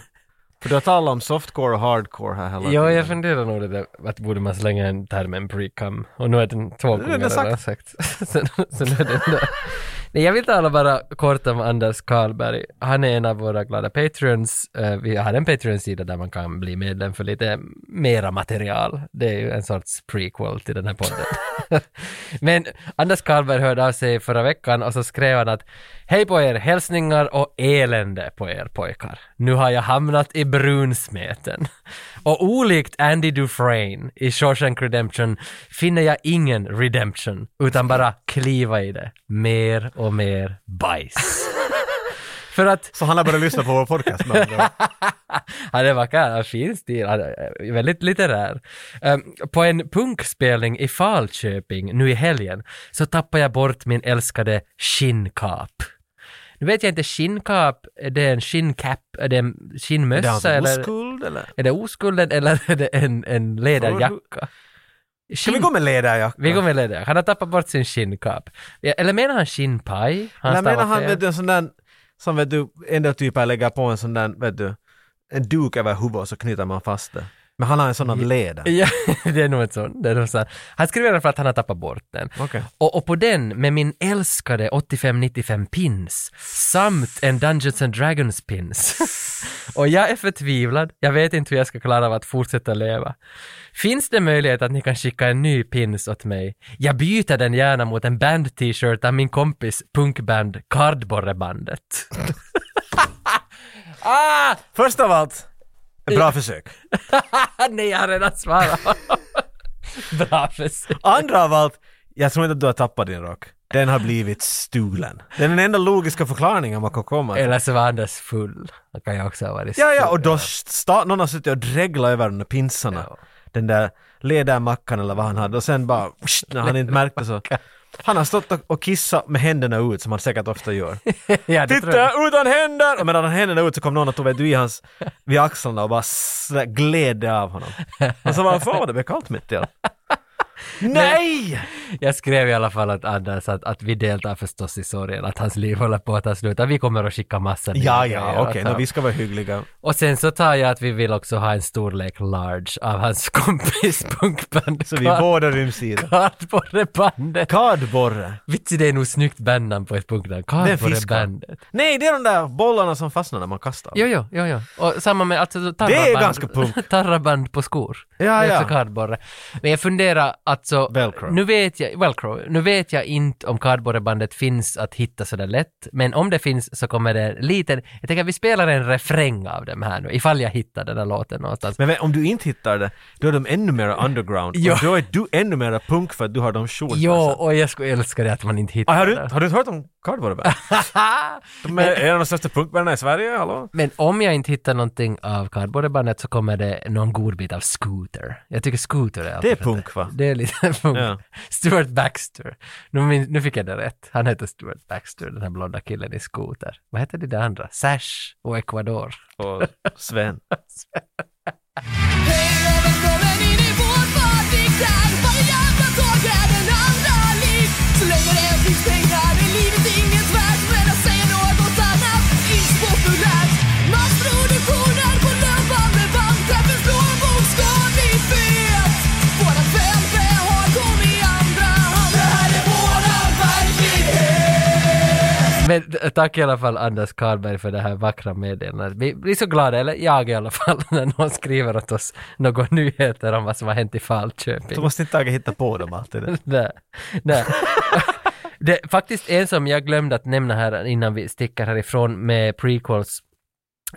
D: För du har talat om softcore och hardcore här hela
C: Ja, jag funderar nog det där, att borde man slänga en termen precum? Och nu är den två
D: är
C: gånger
D: det
C: redan sagt. så, så nu är den där. Nej, jag vill tala bara kort om Anders Karlberg. Han är en av våra glada patreons. Eh, Vi har en Patreon-sida där man kan bli medlem för lite mera material. Det är ju en sorts prequel till den här podden. Men Anders Karlberg hörde av sig förra veckan och så skrev han att Hej på er, hälsningar och elände på er pojkar. Nu har jag hamnat i brunsmeten. Och olikt Andy Dufresne i Shawshank Redemption finner jag ingen redemption utan bara kliva i det. Mer och mer bajs. För att
D: Så han har börjat lyssna på vår podcast med andra ord.
C: han är vacker, han har fin stil, han är väldigt litterär. Ehm, på en punkspelning i Falköping nu i helgen så tappade jag bort min älskade skinnkap. Nu vet jag inte, skinnkap, är det en skinncap, är det en
D: Är det
C: skinnmössa
D: hans
C: eller?
D: oskuld eller?
C: Är det oskulden eller är det en, en läderjacka?
D: Kan vi
C: Skinn-
D: gå med läderjacka?
C: Vi går med läderjacka. Han har tappat bort sin skinnkap. Ja, Eller menar han skinnpaj? Han
D: Nej, menar
C: stavar
D: han
C: fel.
D: vet du en sån där, som vet du, en del typer lägger på en sån där, vet du, en duk över huvudet och så knyter man fast det. Men han har en sån
C: Mm.
D: av läder.
C: Ja, det är nog ett sånt. Det är nog sånt. Han skriver i alla fall att han har tappat bort den.
D: Okej.
C: Och, och på den, med min älskade 8595 pins, samt en Dungeons and Dragons pins. och jag är förtvivlad, jag vet inte hur jag ska klara av att fortsätta leva. Finns det möjlighet att ni kan skicka en ny pins åt mig? Jag byter den gärna mot en band-t-shirt av min kompis punkband Kardborrebandet. ah!
D: Först av allt, ett bra försök.
C: Nej, jag har redan svarat. Bra försök.
D: Andra av allt, jag tror inte att du har tappat din rock. Den har blivit stulen. Det är den enda logiska förklaringen man kan komma till.
C: Eller så var Anders full. Det kan jag också ha varit.
D: Ja, ja, och då sta- någon har suttit och dreglat över de där pinsarna. Den där ledarmackan eller vad han hade och sen bara, pssst, när han inte märkte så. Han har stått och- och kissat med händerna ut som han säkert ofta gör.
C: ja, det tror jag.
D: Titta, utan händer! Och medan han händerna ut så kom någon och tog vet du, i hans, vid axlarna och bara sådär gled av honom. Och så bara, fan vad det blev kallt mitt i allt." Nej!
C: Jag skrev i alla fall att Anders, att, att vi deltar förstås i sorgen, att hans liv håller på att ta slut, att vi kommer att skicka massa
D: Ja,
C: bilder
D: ja,
C: åt
D: okej,
C: honom.
D: nå, vi ska vara hyggliga.
C: Och sen så tar jag att vi vill också ha en storlek large av hans kompis punkband.
D: Så vi båda ryms i det.
C: Kardborrebandet.
D: Kardborre.
C: Vitsi, det är nog snyggt bandnamn på ett punkband.
D: Ah, Det är en fisk, va?
C: Kardborrebandet.
D: Nej, det är de där bollarna som fastnar när man kastar.
C: Jo, jo, jo, jo. Och samma med alltså tarraband.
D: Det är ganska punk.
C: tarraband på skor.
D: Ja,
C: Det är också
D: ja.
C: kardborre. Men jag funderar alltså.
D: Velcro.
C: Nu vet jag, velcro. Nu vet jag inte om kardborrebandet finns att hitta sådär lätt. Men om det finns så kommer det en liten. Jag tänker att vi spelar en refräng av dem här nu. Ifall jag hittar den här låten någonstans.
D: Men vä- om du inte hittar det, då är de ännu mer underground.
C: Ja.
D: Och då är du ännu mer punk för att du har de shortsen.
C: jo, och jag skulle älska det att man inte hittar
D: alltså. Ah, har, du,
C: den.
D: har du inte hört om Kardborreband? De är en av de största punkbanden i Sverige, hallå?
C: Men om jag inte hittar någonting av kardborrebandet så kommer det någon god bit av Scooter. Jag tycker Scooter är
D: Det är
C: alltid-
D: punk va?
C: Det är lite punk.
D: Ja.
C: Stuart Baxter. Nu, min, nu fick jag det rätt. Han heter Stuart Baxter, den här blonda killen i skoter. Vad heter det där andra? Sash och Ecuador.
D: Och Sven.
F: Hej, Robert, kommer ni i vår fart? Exakt
C: Men eh, tack i alla fall Anders Karlberg för det här vackra meddelandet. Vi blir så glada, eller jag i alla fall, när någon skriver åt oss några nyheter om vad som har hänt i Falköping.
D: Du måste inte Tage hitta på dem alltid.
C: Nej. Nej. det är faktiskt en som jag glömde att nämna här innan vi sticker härifrån med prequels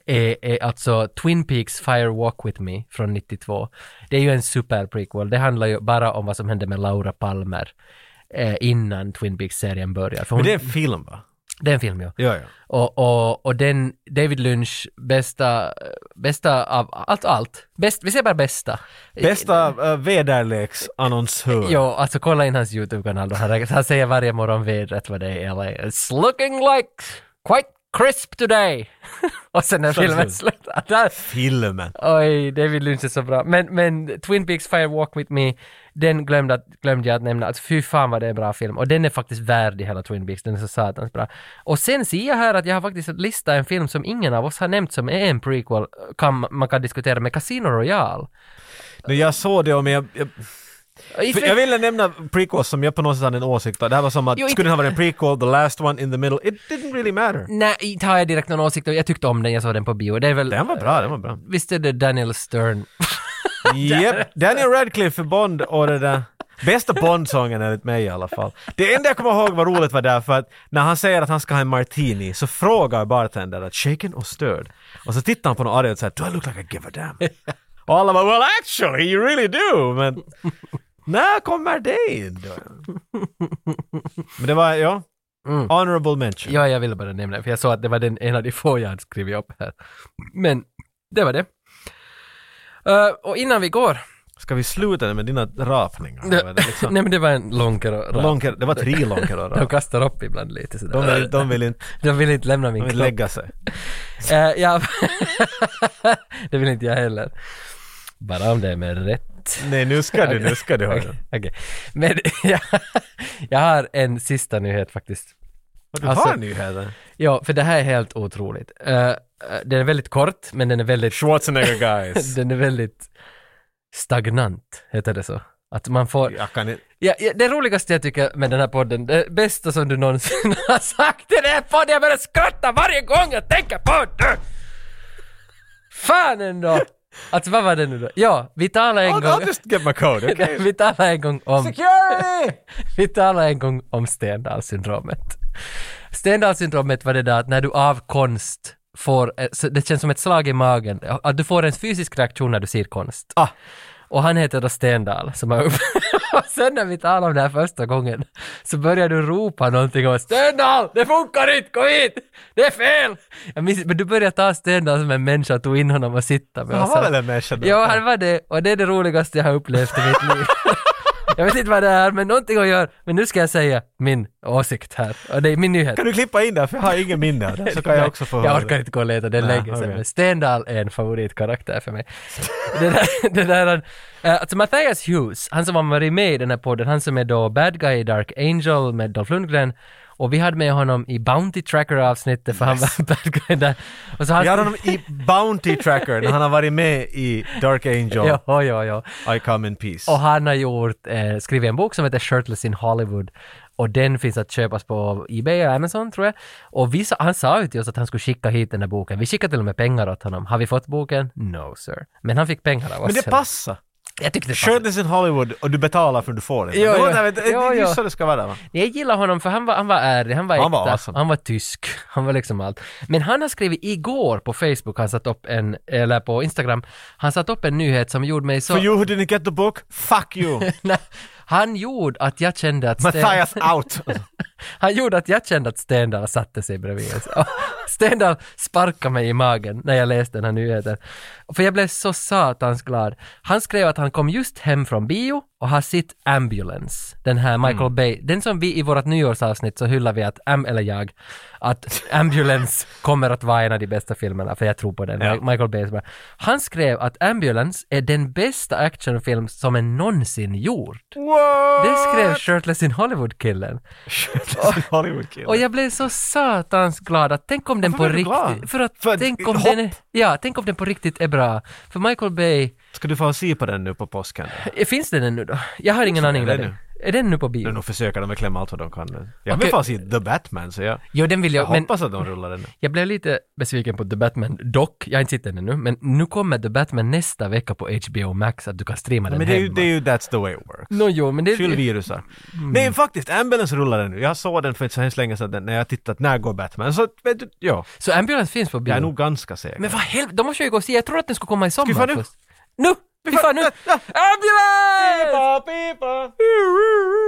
C: är, är alltså Twin Peaks Fire Walk With Me från 92. Det är ju en super prequel. Det handlar ju bara om vad som hände med Laura Palmer eh, innan Twin Peaks-serien börjar. För hon,
D: Men
C: det...
D: det är en film va?
C: det är en film ju.
D: Ja, ja.
C: Och, och, och den David Lynch bästa, bästa av allt, allt. Bäst, vi säger bara bästa.
D: Bästa uh, väderleksannonsör.
C: Jo, alltså kolla in hans YouTube-kanal då. Han, han säger varje morgon vädret vad det är. Eller, It's looking like quite crisp today. och sen när filmen slutar. Där.
D: Filmen.
C: Oj, David Lynch är så bra. Men, men Twin Peaks Fire Walk With Me, den glömde, att, glömde jag att nämna. Alltså, fy fan vad det är en bra film. Och den är faktiskt värd i hela Twin Peaks. Den är så satans bra. Och sen ser jag här att jag har faktiskt listat en film som ingen av oss har nämnt som är en prequel. eh, Kan, man kan diskutera med Casino Royale.
D: Nu, jag såg det och men jag, jag, för jag ville nämna prequels som jag på något sätt hade en åsikt om. Det här var som att,
C: Jo, inte-
D: skulle den ha varit en prequel, the last one in the middle, it didn't really matter.
C: Nej, inte har jag direkt någon åsikt om. Jag tyckte om den, jag såg den på bio. Det är väl...
D: Den var bra, den var bra.
C: Visst är det Daniel Stern?
D: Japp, Daniel Radcliffe för Bond och det där. Bästa Bond-sången enligt mig i alla fall. Det enda jag kommer ihåg var roligt var där för att när han säger att han ska ha en martini så frågar bartendern att shaken och stirred. Och så tittar han på någon arg och säger “Do I look like I give a damn?” Och alla bara “Well actually you really do” men när kommer det in då? Men det var, ja,
C: Mm.
D: honorable mention.
C: Ja, jag ville bara nämna det, för jag såg att det var den en av de få jag hade skrivit upp här. Men det var det. Eh, och innan vi går.
D: Ska vi sluta med dina rapningar? Det var liksom,
C: Nej, men det var en långkar och rap.
D: Långkar, det var tre långkar och
C: De
D: rap.
C: kastar upp ibland lite
D: De
C: sådär.
D: vill, de vill inte,
C: De vill inte lämna min
D: de vill
C: kropp.
D: lägga sig.
C: Eh, ja. det vill inte jag heller. Bara om det är med rätt.
D: Nej, nu ska du, nu ska du höra.
C: Okej. okej. Men jag, jag har en sista nyhet faktiskt.
D: Och Du
C: Alltså-
D: har nyheter.
C: Ja, för det här är helt otroligt. Eh, eh, den är väldigt kort, men den är väldigt,
D: Schwarzenegger guys.
C: den är väldigt stagnant, heter det så? Att man får...
D: jag kan inte...
C: Ja, ja, det roligaste jag tycker med den här podden, det bästa som du någonsin har sagt i den här podden, jag börjar skratta varje gång jag tänker på det! Fan ändå! Alltså vad var det nu då? Ja, vi talade en
D: I'll,
C: gång...
D: I'll just get my code, okay?
C: vi talade en gång om...
D: Security!
C: Vi talade en gång om Stendalsyndromet. Stendalsyndromet var det där att när du av konst får, eh, så det känns som ett slag i magen, att du får en fysisk reaktion när du ser konst.
D: Ah.
C: Och han heter då Stendal som är uppe. och sen när vi talade om det här första gången så började du ropa någonting om Stendal, det funkar inte, kom hit! Det är fel! Jag minns, men du började ta Stendal som en människa och tog in honom och sitta med.
D: Han
C: och så-
D: var väl en människa då?
C: Ja, han var det. Och det är det roligaste jag har upplevt i mitt liv. jag vet inte vad det är, men någonting att göra. Men nu ska jag säga min åsikt här. Och det är min nyhet.
D: Kan du klippa in det? För jag har ingen minne av det. Så kan jag också få
C: Jag
D: höra
C: orkar
D: det.
C: inte gå och leta, det är
D: Nej,
C: länge sedan.
D: okej.
C: Men Stendal är en favoritkaraktär för mig. det där, det där han, eh, alltså Matthias Hughes, han som har varit med i den här podden, han som är då bad guy i Dark Angel med Dolph Lundgren. Och vi hade med honom i Bounty Tracker-avsnittet för han var bad guy där. Och så han,
D: Jag har honom i Bounty Tracker när han har varit med i Dark Angel,
C: Ja, ja, ja.
D: I Come In Peace.
C: Och han har gjort, eh, skrivit en bok som heter Shirtless in Hollywood och den finns att köpas på Ebay och Amazon tror jag. Och vi, sa- han sa ju till oss att han skulle skicka hit den här boken. Vi skickade till och med pengar åt honom. Har vi fått boken? No sir. Men han fick pengar av oss.
D: Men det passar.
C: Jag tyckte alltså. det passade.
D: Shirtless in Hollywood och du betalar för att du får det.
C: Jo,
D: det, var-
C: jo.
D: nej, men det, det
C: Jo,
D: är
C: jo.
D: just så det ska vara. Va?
C: Jag gillar honom för han var, han var ärlig, han var
D: Han var
C: äkta,
D: awesome.
C: han var tysk, han var liksom allt. Men han har skrivit igår på Facebook, han satt upp en, eller på Instagram, han satt upp en nyhet som gjorde mig så...
D: For you who didn't get the book, fuck you!
C: han gjorde att jag kände att...
D: Matthias out!
C: Han gjorde att jag kände att Stendal satte sig bredvid oss. Och Stendal sparkade mig i magen när jag läste den här nyheten. För jag blev så satans glad. Han skrev att han kom just hem från bio och har sitt Ambulance, den här Michael Bay, den som vi i vårt nyårsavsnitt så hyllar vi att, am, eller jag, att Ambulance kommer att vara en av de bästa filmerna, för jag tror på den.
D: Ja.
C: Michael Bay är så bra. Han skrev att Ambulance är den bästa actionfilm som är någonsin gjord. Det skrev Shirtless in Hollywood-killen.
D: Shirtless in Hollywood kille.
C: Och jag blev så satans glad att tänk om den
D: Varför
C: på
D: blev du
C: riktigt...
D: glad?
C: För att
D: För att-
C: tänk om
D: hopp?
C: den är, Ja, tänk om den på riktigt är bra. För Michael Bay...
D: Ska du få se på den nu på påsken?
C: eh, Finns den ännu då? Jag har ingen aning.
D: den
C: om det.
D: ännu?
C: Är den nu på
D: Nu
C: bio?
D: nog försöker de att klämma allt vad de kan. Jag har
C: Okej.
D: väl fan sett The Batman, så jag,
C: Jo, den vill
D: jag
C: jag, men
D: hoppas att de rullar den.
C: jag blev lite besviken på The Batman dock. Jag har inte sett den ännu, men nu kommer The Batman nästa vecka på HBO Max att du kan streama den
D: Men det är, ju,
C: hemma.
D: det är ju that's the way it works.
C: Nå, jo, men det... Mm.
D: Fyll virusar. Nej, faktiskt, Ambulance rullar den nu. Jag såg den för inte så hemskt länge sedan den- när jag tittat när går Batman. Så vet du, ja,
C: Så Ambulance finns på bio?
D: jag är nog ganska säker.
C: Mm. Men vad helvete, då måste jag ju gå och se. Jag tror att den skulle komma i sommar
D: vi fan nu?
C: först. Nu! Vi far nu! Ambulans!
D: Pipa, pipa.